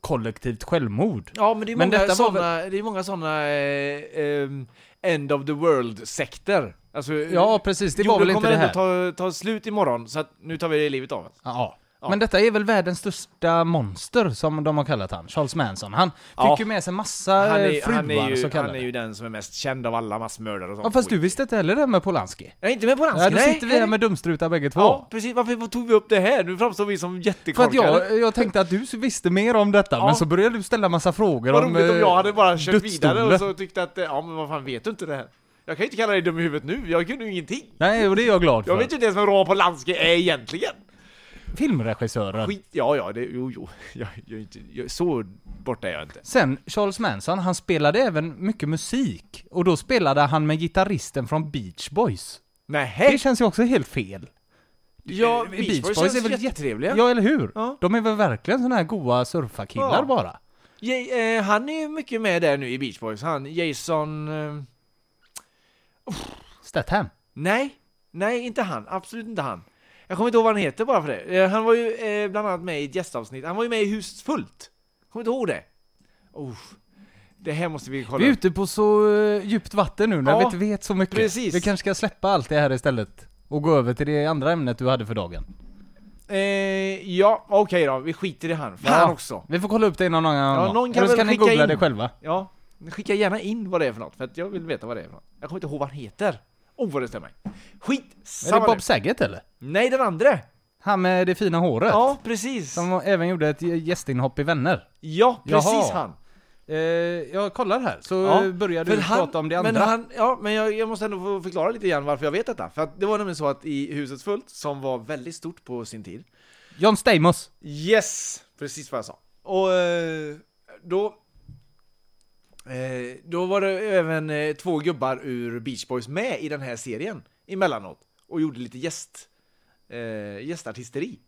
S3: kollektivt självmord.
S4: Mm. Ja, men det är
S3: Men
S4: många
S3: detta var
S4: såna, det är många såna eh, ehm, end of the world-sekter. Alltså,
S3: Ja, precis, det var väl inte det här.
S4: kommer ändå ta, ta slut imorgon, så att nu tar vi det i livet av oss.
S3: Ja.
S4: Ja.
S3: Men detta är väl världens största monster som de har kallat han, Charles Manson. Han fick
S4: Ja.
S3: ju med sig massa
S4: Han
S3: eh,
S4: är,
S3: fruar
S4: han, är ju,
S3: så
S4: han
S3: kallade.
S4: är ju den som är mest känd av alla massmördare och sånt.
S3: Ja, fast du
S4: skit.
S3: visste inte heller det med Polanski?
S4: Jag är inte med på
S3: Ja,
S4: Polanski,
S3: då sitter vi här med dumstrutar bägge två.
S4: Ja, precis. Varför tog vi upp det här? Nu framstår vi som
S3: För att
S4: jättekorkade.
S3: jag, eh, jag tänkte att du visste mer om detta,
S4: Ja.
S3: men så började du ställa massa frågor
S4: Vad
S3: om...
S4: roligt om
S3: eh,
S4: jag hade bara kört
S3: dödsdomen.
S4: vidare och så tyckte att, eh, ja men vad fan vet du inte det här? Jag kan ju inte kalla dig dum i huvudet nu, jag kunde ju ingenting.
S3: Nej, och det är jag glad
S4: Jag
S3: för.
S4: vet ju inte ens vem Roman Polanski är egentligen.
S3: Filmregissören.
S4: Skit, ja ja, det, jo jo. Jag, jag, är inte, jag, så borta är jag inte.
S3: Sen, Charles Manson, han spelade även mycket musik. Och då spelade han med gitarristen från Beach Boys. Det
S4: Nähä?
S3: känns ju också helt fel.
S4: Ja,
S3: Eh,
S4: Beach Boys är väl jättetrevliga?
S3: Ja, eller hur?
S4: Ja.
S3: De är väl verkligen såna här goa surfarkillar
S4: Ja.
S3: bara.
S4: Ja, eh, han är ju mycket med där nu i Beach Boys, han Jason... Eh,
S3: Statham.
S4: nej, nej inte han, absolut inte han. Jag kommer inte ihåg vad han heter bara för det. Eh, han var ju eh, bland annat med i ett gästavsnitt, han var ju med i Huset Fullt. Kommer du inte ihåg det? Oh, det här måste vi kolla
S3: Vi är
S4: upp.
S3: ute på så eh, djupt vatten nu när
S4: Ja,
S3: vi inte vet så mycket.
S4: precis.
S3: Vi kanske ska släppa allt det här istället. Och gå över till det andra ämnet du hade för dagen.
S4: Eh, ja, okej då, vi skiter i han. Fan också.
S3: Vi får kolla upp det innan någon annan
S4: Ja,
S3: dag.
S4: någon kan
S3: Eller så
S4: väl
S3: kan ni
S4: skicka
S3: googla
S4: in.
S3: det själva.
S4: Ja, skicka gärna in vad det är för något, för att jag vill veta vad det är för något. Jag kommer inte ihåg vad han heter. Oh vad det stämmer. Skit!
S3: är det
S4: Samma
S3: Bob
S4: nu.
S3: Saget eller?
S4: Nej, den andra.
S3: Han med det fina håret?
S4: Ja, precis.
S3: Som även gjorde ett gästinhopp i Vänner.
S4: Ja, precis
S3: Jaha.
S4: han.
S3: Eh, jag kollar här, så
S4: Ja,
S3: börjar
S4: för
S3: du
S4: han-
S3: prata om det andra.
S4: Men han, ja, men jag, jag måste ändå få förklara lite grann varför jag vet detta. För att det var nämligen så att i Huset Fullt, som var väldigt stort på sin tid,
S3: John Stamos.
S4: Yes! Precis vad jag sa. Och eh, då... eh, Då var det även eh, två gubbar ur Beach Boys med i den här serien emellanåt och gjorde lite gäst, eh, gästartisteri.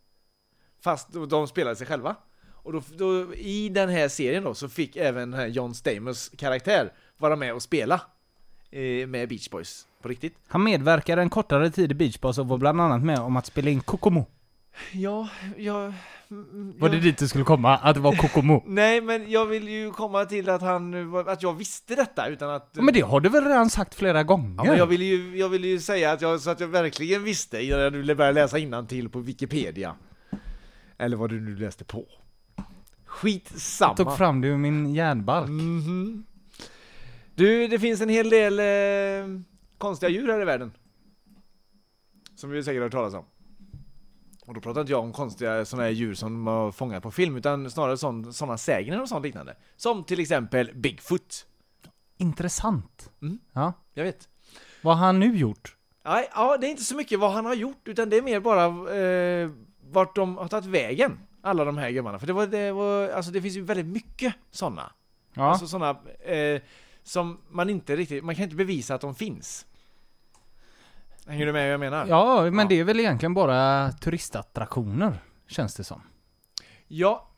S4: Fast de- de spelade sig själva. Och då, då, i den här serien då så fick även den här John Stamos karaktär vara med och spela eh, med Beach Boys på riktigt.
S3: Han medverkade en kortare tid i Beach Boys och var bland annat med om att spela in Kokomo.
S4: Ja, jag...
S3: Var det dit du skulle komma? Att det var Kokomo?
S4: Nej, men jag vill ju komma till att han, var- att jag visste detta utan att...
S3: Ja, Men det har du väl redan sagt flera
S4: Ja,
S3: gånger?
S4: men jag ville ju, jag ville ju säga att jag, så att jag verkligen visste innan du började läsa innantill på Wikipedia. Eller vad du nu läste på. Skitsamma.
S3: Tog fram du min järnbalk.
S4: Mhm. Du, det finns en hel del eh, konstiga djur här i världen. Som vi säkert har hört talas om. Och då pratar inte jag om konstiga sådana här djur som har fångat på film, utan snarare sådana sägner och sånt liknande. Som till exempel Bigfoot.
S3: Intressant.
S4: Mm.
S3: Ja.
S4: Jag vet.
S3: Vad har han nu gjort?
S4: Nej, ja, det är inte så mycket vad han har gjort, utan det är mer bara eh, vart de har tagit vägen. Alla de här gubbarna. För det, var, det, var, alltså, det finns ju väldigt mycket sådana.
S3: Ja.
S4: Alltså sådana eh, som man inte riktigt, man kan inte bevisa att de finns. Hänger du med vad jag menar?
S3: ja, men
S4: Ja.
S3: det är väl egentligen bara turistattraktioner, känns det som.
S4: Ja,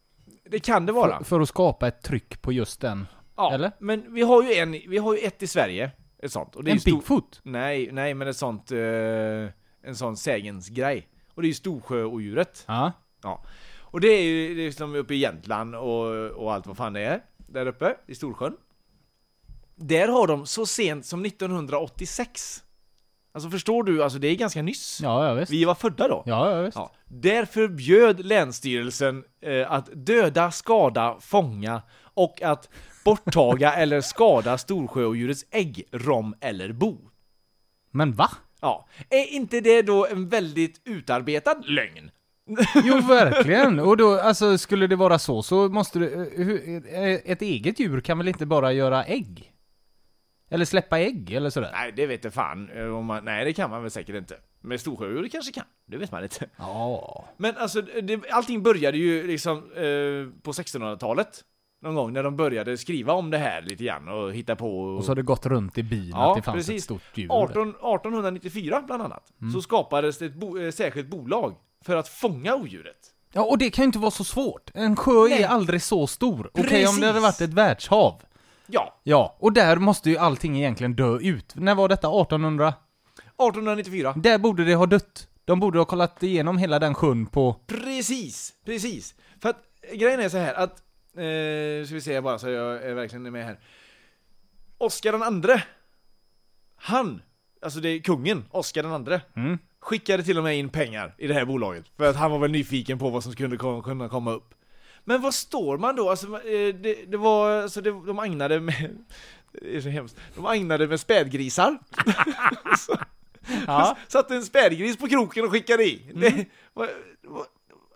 S4: det kan det vara.
S3: För, för att skapa ett tryck på just den.
S4: Ja,
S3: eller?
S4: Men vi har ju en, vi har ju ett i Sverige. Ett sånt. Och det är
S3: en
S4: ju stor-
S3: Bigfoot?
S4: Nej, nej men ett sånt, eh, en sån sägensgrej. Och det är ju Storsjöodjuret.
S3: Ja.
S4: Ja. Och det är ju det är som uppe i Jämtland och, och allt vad fan det är. Där uppe i Storsjön. Där har de så sent som 1986. Alltså förstår du, alltså det är ganska nyss.
S3: Ja, ja visst.
S4: Vi var födda då.
S3: Ja, ja visst.
S4: Ja. Där förbjöd Länsstyrelsen eh, att döda, skada, fånga och att borttaga eller skada Storsjöodjurets ägg, rom eller bo.
S3: Men va?
S4: Ja, är inte det då en väldigt utarbetad lögn?
S3: Jo, verkligen. Och då, alltså skulle det vara så, så måste du... eh, hur- eh, Ett eget djur kan väl inte bara göra ägg? Eller släppa ägg, eller sådär?
S4: Nej, det vet jag fan. eh, Om man, nej, det kan man väl säkert inte. Men storsjöodjur kanske kan. Det vet man inte.
S3: Ja.
S4: Men alltså, det, allting började ju liksom eh, på 1600-talet. Någon gång när de började skriva om det här lite grann och hitta på.
S3: Och så har det gått runt i byn att det fanns ett stort djur. Mm.
S4: 18, 1894 bland annat. Så skapades det ett bo, eh, särskilt bolag för att fånga odjuret.
S3: Ja, och det kan ju inte vara så svårt. En sjö
S4: Nej.
S3: är aldrig så stor. Okej om det hade
S4: Precis.
S3: varit ett världshav.
S4: Ja,
S3: Ja, och där måste ju allting egentligen dö ut. När var detta? 1800?
S4: 1894.
S3: Där borde det ha dött. De borde ha kollat igenom hela den sjön på...
S4: Precis, precis. För att eh, grejen är så här att, eh, ska vi se bara så jag är verkligen är med här. Oscar den andre, han, alltså det är kungen, Oscar den andre, skickade till och med in pengar i det här bolaget. För att han var väl nyfiken på vad som kunde kom- kunna komma upp. Men vad står man då? Alltså, eh, det, det var, alltså det, de agnade med, det är så hemskt, de agnade med spädgrisar. Så-
S3: Ja.
S4: Satte en spädgris på kroken och skickade i. Det, vad, vad,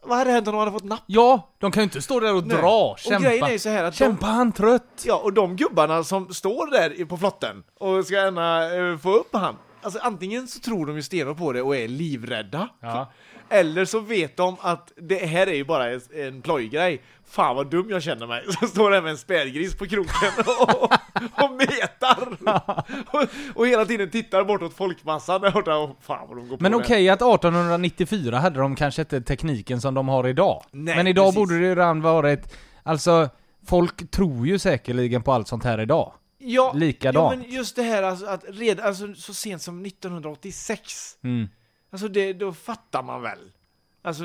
S4: vad hade hänt om de hade fått napp?
S3: Ja, de kan ju inte stå där och
S4: Nej.
S3: dra,
S4: Och grejen
S3: kämpa.
S4: är ju så här att de-
S3: kämpa, han trött.
S4: Ja, och de gubbarna som står där i- på flotten och ska gärna eh, få upp han. Alltså antingen så tror de ju stenhårt på det och är livrädda.
S3: Ja.
S4: Eller så vet de att det här är ju bara en, en plojgrej. Fan vad dum jag känner mig. Så står det med en spädgris på kroken och, och, och metar. Och, och hela tiden tittar bortåt folkmassan där borta. Och fan vad de går
S3: Men
S4: på
S3: okej
S4: det.
S3: att 1894 hade de kanske inte tekniken som de har idag.
S4: Nej,
S3: Men idag
S4: precis.
S3: borde det ju redan varit... Alltså, folk tror ju säkerligen på allt sånt här idag.
S4: Ja,
S3: Likadant.
S4: Ja, men just det här alltså, att redan, alltså, så sent som 1986.
S3: Mm.
S4: Alltså det, då fattar man väl? Alltså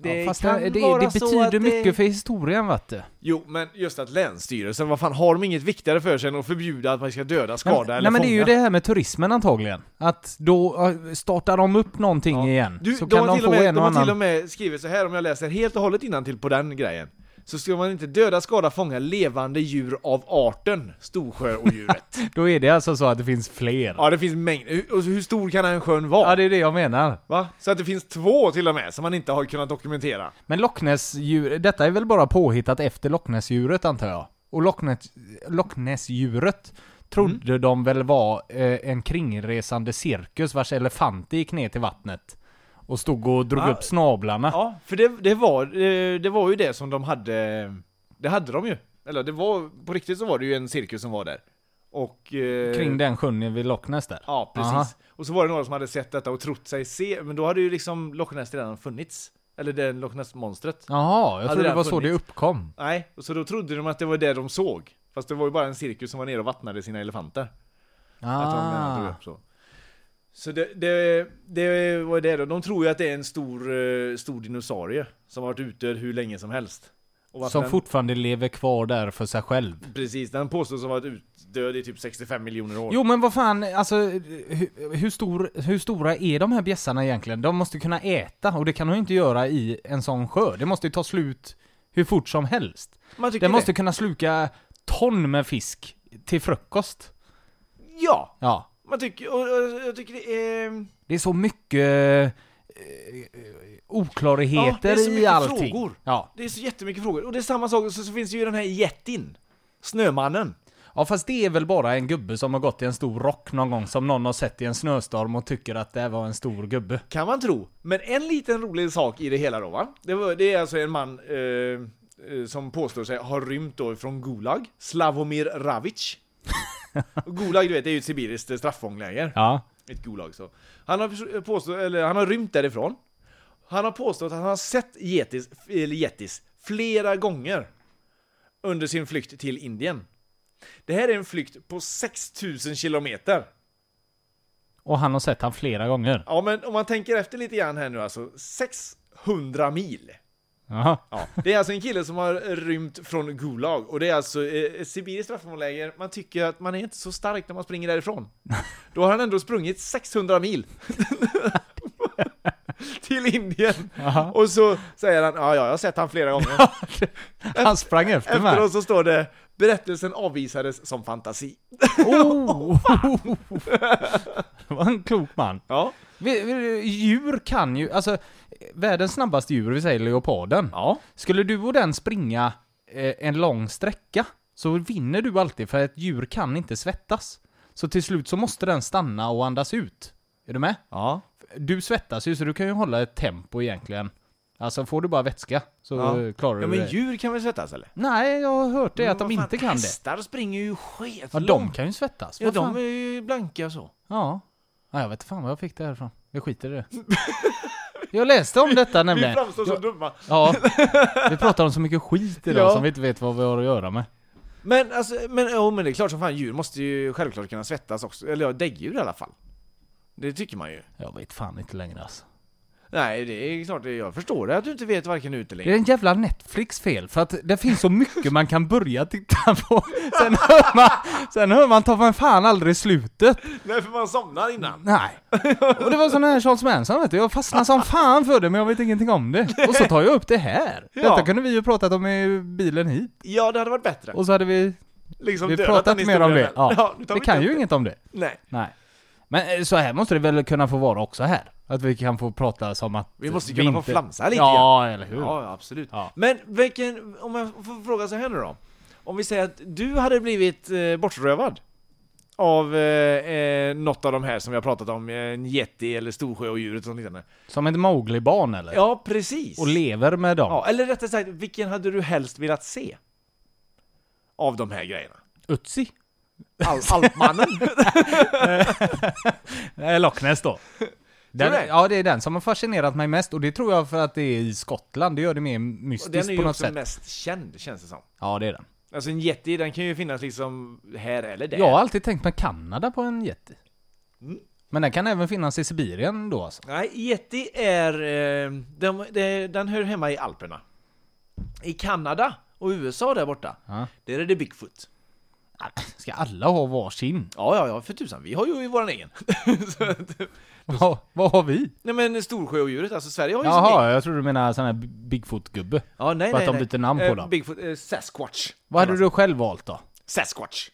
S4: det
S3: ja, fast
S4: kan
S3: det, det,
S4: vara
S3: det
S4: så att
S3: betyder mycket för historien, vet du.
S4: Jo, men just att länsstyrelsen, vad fan har de inget viktigare för sig än att förbjuda att man ska döda, skada
S3: nej,
S4: eller
S3: nej men det
S4: fånga?
S3: är ju det här med turismen antagligen. Att då eh, startar de upp någonting igen.
S4: Du,
S3: så
S4: de
S3: kan
S4: har
S3: de
S4: till och
S3: få
S4: med,
S3: en
S4: de
S3: och
S4: har till och
S3: annan...
S4: med skrivit så här om jag läser helt och hållet innantill på den grejen. Så ska man inte döda, skada, fånga levande djur av arten Storsjöodjuret.
S3: Då är det alltså så att det finns fler. Ja,
S4: ja, det finns mängder. Hur, och hur stor kan en sjön vara?
S3: det är det jag menar.
S4: Va? Så att det finns två till och med som man inte har kunnat dokumentera.
S3: Men Loch Ness-djur, detta är väl bara påhittat efter Loch Ness-djuret antar jag? Och Loch Ness- Loch Ness-djuret trodde
S4: Mm.
S3: de väl var eh, en kringresande cirkus vars elefanter gick ner till vattnet. Och stod och drog
S4: Ja.
S3: upp snablarna.
S4: Ja, för det, det, var, eh, det var ju det som de hade. Det hade de ju. Eller det var, på riktigt så var det ju en cirkus som var där. Och... eh,
S3: Kring den sjön vid Loch Ness där.
S4: Ja, precis.
S3: Aha.
S4: Och så var det några som hade sett detta och trott sig se, men då hade ju liksom Loch Ness redan funnits. Eller det Loch Ness-monstret.
S3: Jaha,
S4: Hade
S3: jag trodde
S4: det
S3: det var så det
S4: funnits?
S3: uppkom.
S4: Nej, och så då trodde de att det var det de såg. Fast det var ju bara en cirkus som var nere och vattnade sina elefanter. Att de eh, drog
S3: Ah.
S4: upp så. Så det, det, det var det då. De tror ju att det är en stor, eh, stor dinosaurie som har varit utdöd hur länge som helst. Och att
S3: Som
S4: den,
S3: fortfarande lever kvar där för sig själv.
S4: Precis, den påstås ha varit utdöd i typ 65 miljoner år.
S3: Jo men vad fan, alltså hur, hur, stor, hur stora är de här bjässarna egentligen? De måste ju kunna äta och det kan de ju inte göra i en sån sjö. Det måste ju ta slut hur fort som helst.
S4: Man tycker
S3: Den måste
S4: det.
S3: kunna sluka ton med fisk till frukost.
S4: Ja!
S3: Ja.
S4: Man tycker, och, och, jag tycker det är...
S3: Det är så mycket eh, oklarheter
S4: Ja, det är så
S3: i
S4: mycket
S3: allting.
S4: frågor.
S3: Ja.
S4: Det är så jättemycket frågor. Och det är samma sak, så, så finns ju den här jättin. Snömannen.
S3: ja, fast det är väl bara en gubbe som har gått i en stor rock någon gång som någon har sett i en snöstorm och tycker att det var en stor gubbe.
S4: Kan man tro. Men en liten rolig sak i det hela då va? Det, var, det är alltså en man eh, eh, som påstår sig ha rymt då från Gulag, Slavomir Ravic. Och Gulag du vet, det är ju ett sibiriskt eh, straffångläger.
S3: Ja.
S4: Ett Gulag så. Han har, förs- eh, påstå, eller, han har rymt därifrån. Han har påstått att han har sett getis, eller getis flera gånger under sin flykt till Indien. Det här är en flykt på 6000 kilometer.
S3: Och han har sett han flera gånger.
S4: Ja, men om man tänker efter lite grann här nu alltså, 600 mil.
S3: Jaha.
S4: Ja, det är alltså en kille som har rymt från Gulag och det är alltså eh, ett sibiriskt straffomläger. Man tycker att man är inte så stark när man springer därifrån. Då har han ändå sprungit 600 mil. Till Indien. Och så säger han, ja, ja, jag har sett han flera gånger.
S3: Han sprang efter mig.
S4: Efteråt så står det, berättelsen avvisades som fantasi.
S3: Oh. Det var en klok man.
S4: Ja,
S3: Vi- vi- Djur kan ju, alltså världens snabbaste djur, vi säger leoparden.
S4: ja.
S3: Skulle du och den springa eh, en lång sträcka så vinner du alltid för ett djur kan inte svettas. Så till slut så måste den stanna och andas ut. Är du med?
S4: ja.
S3: Du svettas ju så du kan ju hålla ett tempo egentligen. Alltså får du bara vätska så eh, klarar
S4: ja,
S3: du
S4: men
S3: det.
S4: djur kan väl svettas eller?
S3: Nej, jag har hört det att
S4: Men
S3: de
S4: vad fan,
S3: inte kan det.
S4: Hästar springer ju sket
S3: Ja, de kan ju svettas.
S4: Ja,
S3: Vad fan?
S4: de är ju blanka så.
S3: Ja. ja. Jag vet fan vad jag fick det här ifrån. Jag skiter i det. Jag läste om detta nämligen. Jag-
S4: dumma.
S3: Ja. Vi pratar om så mycket skit idag
S4: Ja.
S3: som vi inte vet vad vi har att göra med.
S4: Men alltså, men, ja, men det är klart som fan, djur måste ju självklart kunna svettas också. Eller ja, däggdjur i alla fall. Det tycker man ju.
S3: Jag vet fan inte längre alltså.
S4: Nej, det är klart, det- jag förstår det att du inte vet varken ut eller
S3: Det
S4: in.
S3: är en jävla Netflix fel, för att det finns så mycket man kan börja titta på. Sen hör man, sen hör man ta fan fan aldrig slutet.
S4: Nej, för man somnar innan.
S3: Nej. Och det var sån här Charles Manson vet du, jag fastnade som fan för det men jag vet ingenting om det. Och så tar jag upp det här. Detta kunde vi ju pratat om i bilen hit.
S4: Ja, det hade varit bättre.
S3: Och så hade vi
S4: liksom
S3: Vi
S4: dödat
S3: pratar
S4: den
S3: inte mer om det.
S4: historien.
S3: Ja.
S4: nu tar
S3: vi
S4: vi
S3: kan
S4: inte
S3: ju
S4: upp det.
S3: inget om det.
S4: Nej.
S3: Nej. Men eh, så här måste det väl kunna få vara också här? Att vi kan få prata som att...
S4: Vi måste kunna få flamsa lite
S3: Ja, eller hur?
S4: Ja, ja, absolut.
S3: Ja.
S4: Men vilken, om jag får fråga så här nu då. Om vi säger att du hade blivit eh, bortrövad av eh, eh, något av de här som vi har pratat om, eh, en jätte eller storsjöodjuret och sånt liknande.
S3: Som ett Mowgli-barn eller?
S4: Ja, precis.
S3: Och lever med dem.
S4: ja, eller rättare sagt, vilken hade du helst velat se? Av de här grejerna.
S3: Utsi?
S4: Al- Alpmannen?
S3: Eh, Loch Ness då. Den,
S4: Tror du det?
S3: ja, det är den som har fascinerat mig mest och det tror jag för att det är i Skottland. Det gör det mer
S4: Och den är
S3: mystiskt på
S4: ju
S3: något
S4: också
S3: sätt.
S4: mest känd, känns det som.
S3: Ja, det är den.
S4: Alltså en jätte, den kan ju finnas liksom här eller där.
S3: Jag har alltid tänkt mig Kanada på en jätte.
S4: Mm.
S3: Men den kan även finnas i Sibirien då alltså.
S4: Nej, Yeti är... Eh, de, de, den hör hemma i Alperna. I Kanada och USA där borta,
S3: Ja.
S4: där är det Bigfoot.
S3: Ah, Ska alla ha varsin?
S4: Ja, ja, ja, för tusan. Vi har ju våran egen. Så att-
S3: Vad, vad har vi?
S4: nej men Storsjöodjuret, alltså Sverige har ju sin egen.
S3: Jaha, jag tror du menar sån här Bigfoot-gubbe.
S4: Ja, nej,
S3: för att
S4: nej,
S3: de
S4: nej.
S3: byter namn på
S4: Eh,
S3: dem.
S4: Bigfoot, eh, Sasquatch.
S3: Vad hade du själv valt då?
S4: Sasquatch.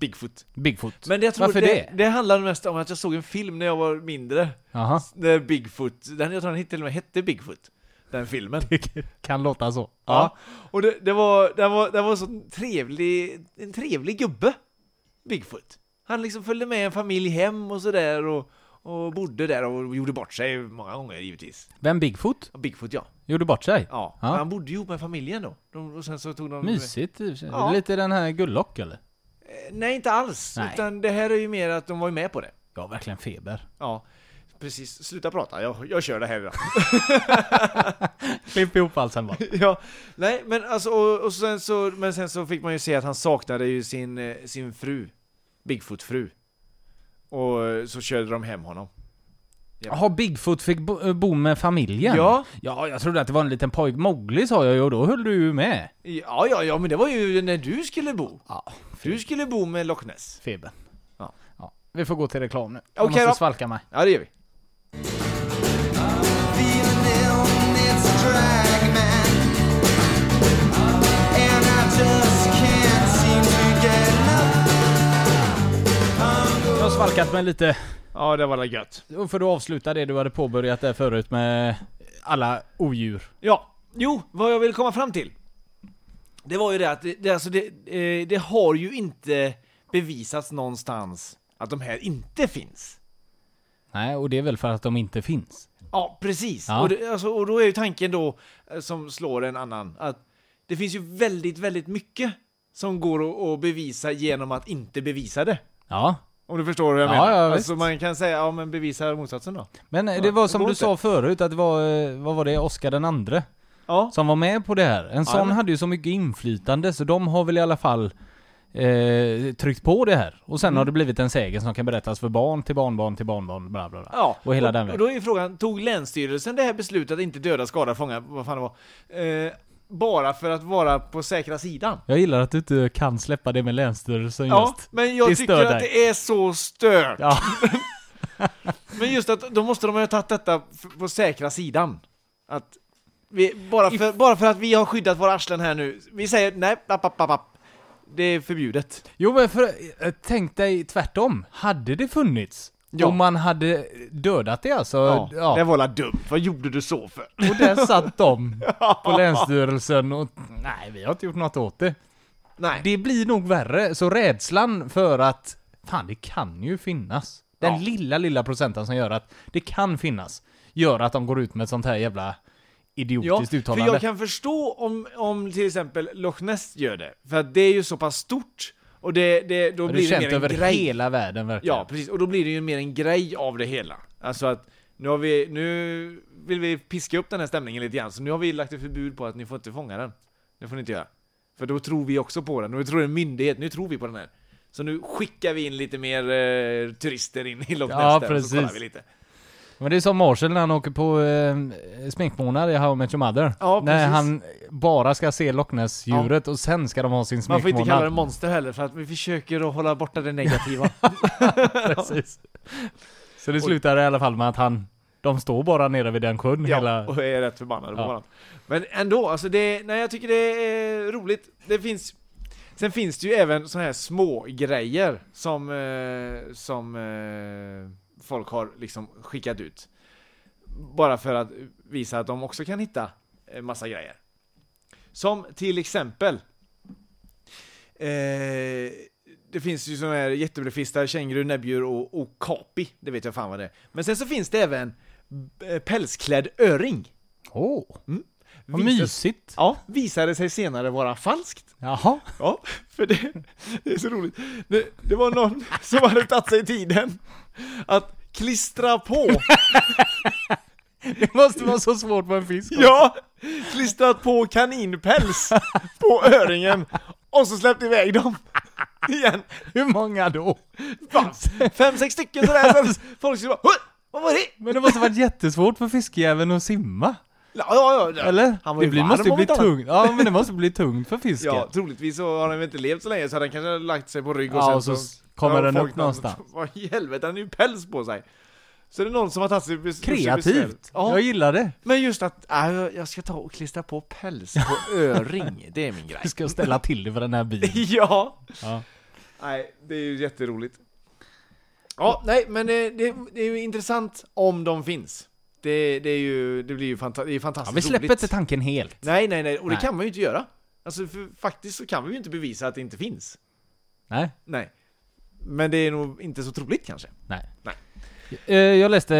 S4: Bigfoot.
S3: Bigfoot?
S4: Men jag tror
S3: Varför
S4: det,
S3: det?
S4: det handlar mest om att jag såg en film när jag var mindre.
S3: Jaha,
S4: Där Bigfoot, den, jag tror den till och med hette Bigfoot. Den filmen.
S3: kan låta så.
S4: Ja. Och det, det var, det var, det var så trevlig, en trevlig gubbe, Bigfoot. Han liksom följde med en familj hem och sådär och, och bodde där och gjorde bort sig många gånger givetvis.
S3: Vem Bigfoot?
S4: Ja, Bigfoot ja.
S3: Gjorde bort sig?
S4: Ja,
S3: Ja.
S4: Men han bodde ju ihop med familjen då. De, och sen så tog de...
S3: Mysigt i och för sig.
S4: Ja.
S3: Lite den här Gullock eller?
S4: Nej, inte alls.
S3: Nej.
S4: Utan det här är ju mer att de var ju med på det.
S3: Jag har verkligen feber.
S4: Ja. precis. Sluta prata, jag, jag kör det här idag.
S3: Klipp ihop allt sen bara.
S4: ja, nej, men alltså, och, och sen så, men sen så fick man ju se att han saknade ju sin, eh, sin fru. Bigfoot-fru. Och eh, så körde de hem honom.
S3: Jaha, Bigfoot fick bo, eh, bo med familjen?
S4: Ja.
S3: Ja, jag trodde att det var en liten pojk. Mowgli sa jag ju och då höll du ju med.
S4: Ja, ja, ja, men det var ju när du skulle bo.
S3: Ja,
S4: Du skulle bo med Loch Ness.
S3: febern.
S4: Ja.
S3: Vi får gå till reklam nu. Jag
S4: Okej
S3: måste
S4: då.
S3: svalka mig.
S4: Ja, det gör vi.
S2: Feeling ill, it's a drag, man. And I just can't seem to get enough.
S3: Jag har svalkat mig lite.
S4: Ja, det var väl gött.
S3: Och För att avsluta det du hade påbörjat där förut med alla odjur.
S4: Ja, jo, vad jag ville komma fram till. Det var ju det att det, det, alltså det, eh, det har ju inte bevisats någonstans att de här inte finns.
S3: Nej, och det är väl för att de inte finns.
S4: Ja, precis.
S3: Ja.
S4: Och, det, alltså, och då är ju tanken då, eh, som slår en annan, att det finns ju väldigt, väldigt mycket som går att, att bevisa genom att inte bevisa det.
S3: Ja.
S4: Om du förstår hur jag
S3: Ja,
S4: menar?
S3: ja,
S4: alltså
S3: visst.
S4: man kan säga, ja men bevisa motsatsen då.
S3: Men eh, det var
S4: det
S3: som
S4: går
S3: du
S4: inte.
S3: sa förut, att det var, eh, vad var det, Oscar den andre?
S4: Ja,
S3: Som var med på det här. En sån
S4: men-
S3: hade ju så mycket inflytande så de har väl i alla fall eh, tryckt på det här. Och sen
S4: Mm.
S3: har det blivit en sägen som kan berättas för barn till barnbarn till barnbarn bla bla bla.
S4: ja.
S3: Och hela den
S4: och, och
S3: vägen.
S4: då är ju frågan, tog länsstyrelsen det här beslutet att inte döda, skada, fånga, vad fan det var, eh, bara för att vara på säkra sidan?
S3: Jag gillar att du inte kan släppa det med Länsstyrelsen
S4: Ja,
S3: just.
S4: men jag
S3: Det
S4: tycker
S3: stör
S4: att
S3: dig.
S4: det är så stört.
S3: Ja.
S4: Men just att då måste de ha tagit detta f- på säkra sidan. Att vi, bara, för, bara för att vi har skyddat våra arslen här nu. Vi säger nej, app, app, app, app. Det är förbjudet.
S3: Jo men för, eh, tänk dig tvärtom. Hade det funnits?
S4: Ja.
S3: Om man hade dödat det alltså?
S4: Ja,
S3: ja.
S4: Det var la dumt. Vad gjorde du så för?
S3: Och där satt de på Länsstyrelsen och nej, vi har inte gjort något åt det.
S4: Nej.
S3: Det blir nog värre, så rädslan för att fan, det kan ju finnas. Den
S4: Ja.
S3: lilla, lilla procenten som gör att det kan finnas gör att de går ut med ett sånt här jävla
S4: Ja,
S3: idiotiskt
S4: för
S3: uttalande.
S4: jag kan förstå om, om till exempel Loch Ness gör det. För att det är ju så pass stort. Och det, det, då
S3: det
S4: blir
S3: är
S4: det
S3: känt
S4: mer en
S3: över
S4: grej.
S3: hela världen verkligen.
S4: Ja, precis. Och då blir det ju mer en grej av det hela. Alltså att nu har vi, nu vill vi piska upp den här stämningen lite grann, så nu har vi lagt ett förbud på att ni får inte fånga den. Det får ni inte göra. För då tror vi också på den, nu tror det är en myndighet, nu tror vi på den här. Så nu skickar vi in lite mer eh, turister in i Loch Ness
S3: Ja,
S4: där, och så kollar
S3: precis.
S4: vi lite.
S3: Men det är som Marshall när han åker på eh, sminkmånad i How I Met Your Mother.
S4: Ja,
S3: när
S4: precis.
S3: han bara ska se Loch Ness-djuret och sen ska de ha sin
S4: Man
S3: sminkmånad.
S4: får inte kalla det monster heller, för att vi försöker att hålla borta det negativa.
S3: Precis. Så det slutar i alla fall med att han, de står bara nere vid den sjön
S4: ja,
S3: hela...
S4: och är rätt förbannade på
S3: Ja.
S4: varandra. Men ändå, alltså det, nej jag tycker det är roligt. Det finns, sen finns det ju även såna här små grejer som, eh, som eh, folk har liksom skickat ut. Bara för att visa att de också kan hitta eh, massa grejer. Som till exempel eh, Det finns ju såna här jättebrödfistar, känguru, näbbdjur och okapi. Det vet jag fan vad det är. Men sen så finns det även eh, pälsklädd öring.
S3: Åh, vad
S4: Visar-
S3: mysigt!
S4: Ja, visade sig senare vara falskt.
S3: Jaha.
S4: Ja, för det, det är så roligt. Det, det var någon som hade tagit sig tiden att klistra på,
S3: Det måste vara så svårt med en fisk.
S4: ja, klistrat på kaninpäls på öringen och så släppt iväg dem. Igen.
S3: Hur många då?
S4: Bara Fem, sex stycken sådär. Sen folk skulle bara "Oj, Vad var det?
S3: Men det måste varit jättesvårt för fiskjäveln att simma.
S4: Ja, ja, ja.
S3: Eller?
S4: Han var
S3: det
S4: ju
S3: blir,
S4: varm
S3: måste ju
S4: om
S3: bli
S4: inte annat.
S3: tungt. Ja, men det måste bli tungt för fisken.
S4: Ja, troligtvis så har den väl inte levt så länge så den kanske har lagt sig på rygg och
S3: Ja,
S4: sen
S3: och så
S4: så
S3: kommer
S4: Ja,
S3: den
S4: folk-
S3: upp någonstans.
S4: Vad i helvete, den är ju päls på sig. Så det är någon som har tagit sig bes- besvär.
S3: Kreativt!
S4: Ja,
S3: Jag gillar det.
S4: men just att äh, jag ska ta och klistra på päls på öring, det är min grej.
S3: Jag ska ställa till det för den här bilen.
S4: Ja.
S3: Ja.
S4: Nej, det är ju jätteroligt. Ja, nej, men det, det, det är ju intressant om de finns. Det, det, är ju, det blir ju fanta- det är
S3: Ja,
S4: fantastiskt
S3: vi släpper
S4: roligt.
S3: inte tanken helt.
S4: Nej, nej, nej, och det
S3: Nej.
S4: kan man ju inte göra. Alltså, för faktiskt så kan vi ju inte bevisa att det inte finns.
S3: Nej.
S4: Nej. Men det är nog inte så troligt kanske.
S3: Nej.
S4: Nej.
S3: Eh, Jag läste,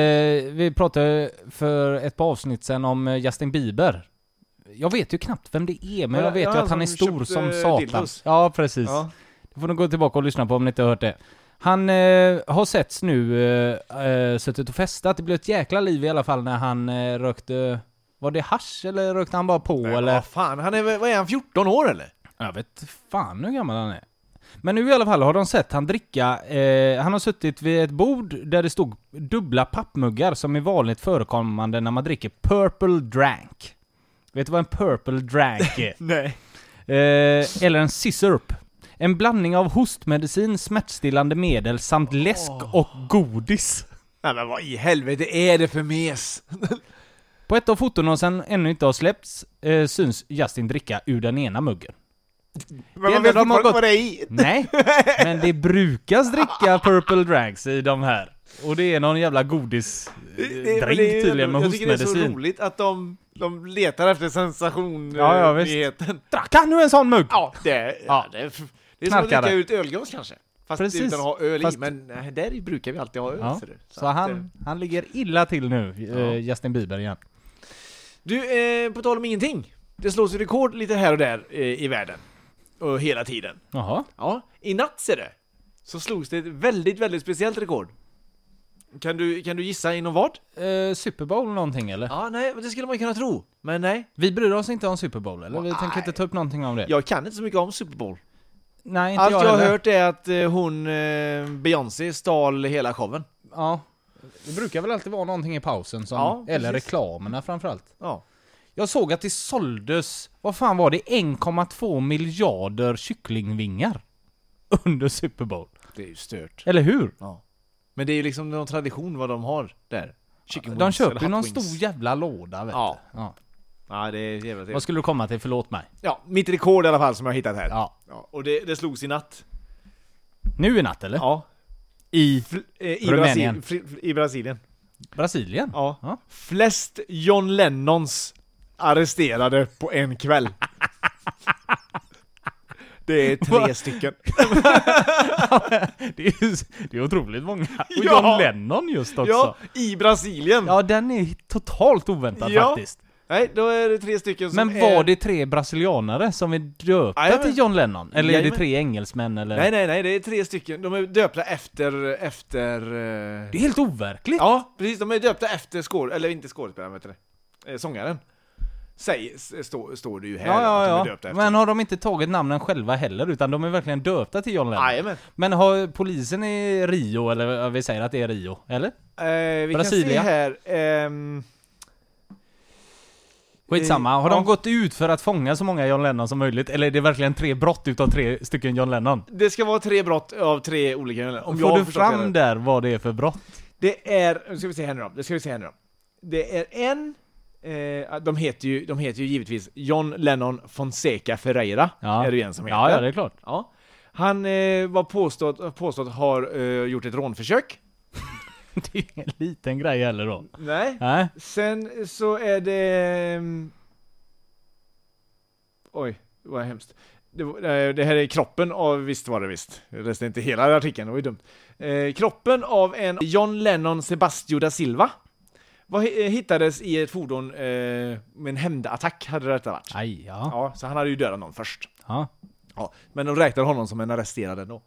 S3: vi pratade för ett par avsnitt sen om eh, Justin Bieber. Jag vet ju knappt vem det är, men
S4: Ja,
S3: jag vet
S4: ja,
S3: ju
S4: han
S3: att han är
S4: som
S3: stor
S4: köpte
S3: som satan.
S4: dildos.
S3: Ja, precis.
S4: Ja.
S3: Då får ni gå tillbaka och lyssna på om ni inte har hört det. Han eh, har setts nu, eh, eh, suttit och festat. Det blev ett jäkla liv i alla fall när han eh, rökte... Var det hasch eller rökte han bara på eller?
S4: Ja, fan, han är, väl- vad är han, 14 år eller?
S3: Jag vet fan hur gammal han är. Men nu i alla fall har de sett han dricka, eh, han har suttit vid ett bord där det stod dubbla pappmuggar som är vanligt förekommande när man dricker purple drank. Vet du vad en purple drank är?
S4: Nej.
S3: Eh, eller en sissurup. En blandning av hostmedicin, smärtstillande medel samt läsk och godis.
S4: Nej men vad i helvete är det för mes?
S3: På ett av fotona som ännu inte har släppts eh, syns Justin dricka ur den ena muggen.
S4: Men
S3: man vet
S4: de har
S3: fortfarande
S4: gått...
S3: vad
S4: det är i.
S3: Nej, men det brukas dricka purple drags i de här. Och det är någon jävla
S4: Det- men
S3: godisdrink
S4: det är ju
S3: tydligen
S4: ändå-
S3: med
S4: Jag tycker det är så
S3: hostmedicin.
S4: roligt att de, de letar efter sensation
S3: Ja, ja,
S4: eh,
S3: visst.
S4: nyheten.
S3: Drack han nu en sån mugg?
S4: Ja, det,
S3: Ja.
S4: ja. det, är f- det är som att
S3: Knarkare.
S4: dricka ut ölglas kanske. Fast
S3: Precis.
S4: utan att ha öl
S3: Fast-
S4: i, men eh, där i brukar vi alltid ha öl.
S3: Ja,
S4: ser du.
S3: Så
S4: att,
S3: han,
S4: eh,
S3: han ligger illa till nu, eh,
S4: Ja.
S3: Justin Bieber igen.
S4: Du, eh, på tal om ingenting. Det slås ju rekord lite här och där eh, i världen. Och hela tiden.
S3: Jaha.
S4: Ja, i natt ser det. Så slogs det ett väldigt, väldigt speciellt rekord. Kan du, kan du gissa inom vad?
S3: Eh, Super Bowl någonting eller?
S4: Ja, nej, men det skulle man kunna tro. Men nej,
S3: Vi bryr oss inte om Super Bowl eller? Vi
S4: Nej.
S3: tänker inte ta upp någonting om det.
S4: jag kan inte så mycket om Super Bowl.
S3: Nej, inte
S4: Allt jag har
S3: heller.
S4: hört är att eh, hon, eh, Beyoncé, stal hela showen.
S3: Ja. Det brukar väl alltid vara någonting i pausen som,
S4: Ja,
S3: eller
S4: precis.
S3: reklamerna framförallt.
S4: Ja.
S3: Jag såg att det såldes, vad fan var det, 1,2 miljarder kycklingvingar under Super Bowl.
S4: Det är ju stört.
S3: Eller hur?
S4: Ja. Men det är ju liksom någon tradition vad de har där. Chicken
S3: De
S4: wings
S3: köper
S4: eller
S3: ju
S4: hot
S3: någon
S4: wings.
S3: stor jävla låda vet
S4: Ja.
S3: du. Ja.
S4: Ja, det är jävla
S3: Vad
S4: trevligt.
S3: skulle du komma till? Förlåt mig.
S4: Ja, mitt rekord i alla fall som jag har hittat här.
S3: Ja.
S4: Ja, och det, det slogs i natt.
S3: Nu i natt eller?
S4: Ja.
S3: I
S4: Fl- eh, I,
S3: Rumänien.
S4: Brasil- fri- fri- I Brasilien.
S3: Brasilien?
S4: Ja.
S3: Ja.
S4: Flest John Lennons arresterade på en kväll. det är tre stycken.
S3: Det, är, ju- det är otroligt många. Och
S4: Ja.
S3: John Lennon just också.
S4: Ja,
S3: Ja.
S4: i Brasilien.
S3: den är totalt oväntad
S4: Ja.
S3: faktiskt.
S4: Nej, då är det tre stycken som
S3: Men
S4: är...
S3: var det tre brasilianare som är döpta
S4: Jajamän.
S3: till John Lennon? Eller är det
S4: Jajamän.
S3: tre engelsmän eller?
S4: Nej, nej, nej, det är tre stycken. De är döpta efter... efter eh,
S3: Det är helt overkligt.
S4: Ja, precis. De är döpta efter skåd... Eller inte skådespelaren, vet du det? Eh, Sångaren. Säg, s- stå, står det ju här
S3: Ja,
S4: att de är
S3: ja,
S4: döpta
S3: ja.
S4: efter.
S3: Men har de inte tagit namnen själva heller, utan de är verkligen döpta till John Lennon?
S4: Jajamän.
S3: Men har polisen i Rio, eller vad vi säger att det är Rio, eller?
S4: Eh, vi
S3: Brasilia.
S4: kan se här. ehm,
S3: Skitsamma,
S4: Eh,
S3: har
S4: ja.
S3: de gått ut för att fånga så många John Lennon som möjligt? Eller är det verkligen tre brott utav tre stycken John Lennon?
S4: det ska vara tre brott av tre olika... Om jag
S3: Får
S4: har
S3: du
S4: förstått det
S3: fram
S4: rätt.
S3: där vad det är för brott?
S4: Det är, nu ska vi se här nu då, det ska vi se här nu då. Det är en, eh, de, heter ju, de heter ju givetvis John Lennon Fonseca Ferreira,
S3: Ja.
S4: är det ju en som heter.
S3: Ja, ja, det är klart.
S4: Ja. Han eh, var påstått, påstått har eh, gjort ett rånförsök.
S3: Det är ingen liten grej heller då.
S4: Nej.
S3: Nej,
S4: Sen så är det... ehm, Oj, vad hemskt. Det, var- eh, det här är kroppen av, visst var det visst. Jag läste inte hela artikeln, det var ju dumt. Eh, kroppen av en John Lennon Sebastio da Silva var, eh, hittades i ett fordon eh, med en hämndattack, hade detta varit.
S3: aj, ja.
S4: Ja, så han hade ju dödat någon först.
S3: ja.
S4: Ja, men de räknar honom som en arresterad ändå.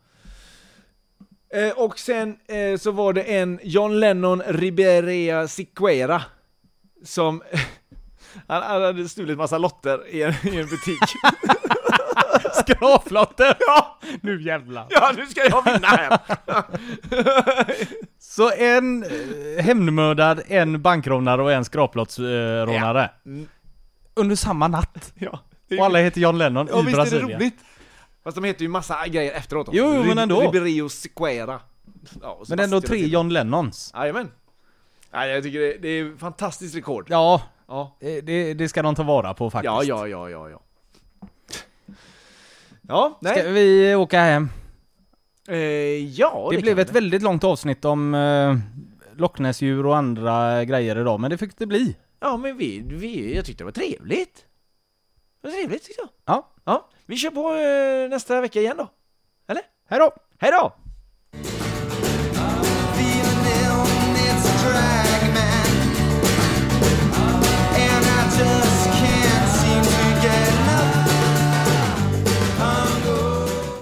S4: Eh, och sen eh, så var det en John Lennon Riberea Siqueira som... Han, han hade stulit massa lotter i en, i en butik.
S3: Gravlotter! Ja! Nu jävlar.
S4: ja, nu ska jag vinna här!
S3: Så en eh, hämndmördad, en bankrånare och en skraplottsrånare.
S4: Mm.
S3: Under samma natt.
S4: ja,
S3: Och alla heter John Lennon
S4: ja,
S3: i
S4: visst är
S3: Brasilien.
S4: det roligt? Fast de heter ju massa grejer efteråt.
S3: Jo, jo, men ändå.
S4: Riberio Siqueira. Ja, och
S3: Men ändå
S4: Sebastian
S3: tre
S4: Siqueira.
S3: John Lennons.
S4: Jajamän. Nej, jag tycker det, det är ett fantastiskt rekord.
S3: Ja,
S4: ja.
S3: eh, det, det ska de ta vara på faktiskt.
S4: Ja, ja, ja, ja, ja. Ja, nej.
S3: Ska vi åka hem?
S4: Eh, ja,
S3: Det, blev
S4: kan
S3: ett
S4: vi.
S3: väldigt långt avsnitt om eh, Loch Ness-djur och andra grejer idag, men det fick det bli.
S4: Ja, men vi, vi, jag tyckte det var trevligt. Det var trevligt tyckte jag.
S3: Ja,
S4: Ja, vi kör på eh, nästa vecka igen då. Eller?
S3: hej då!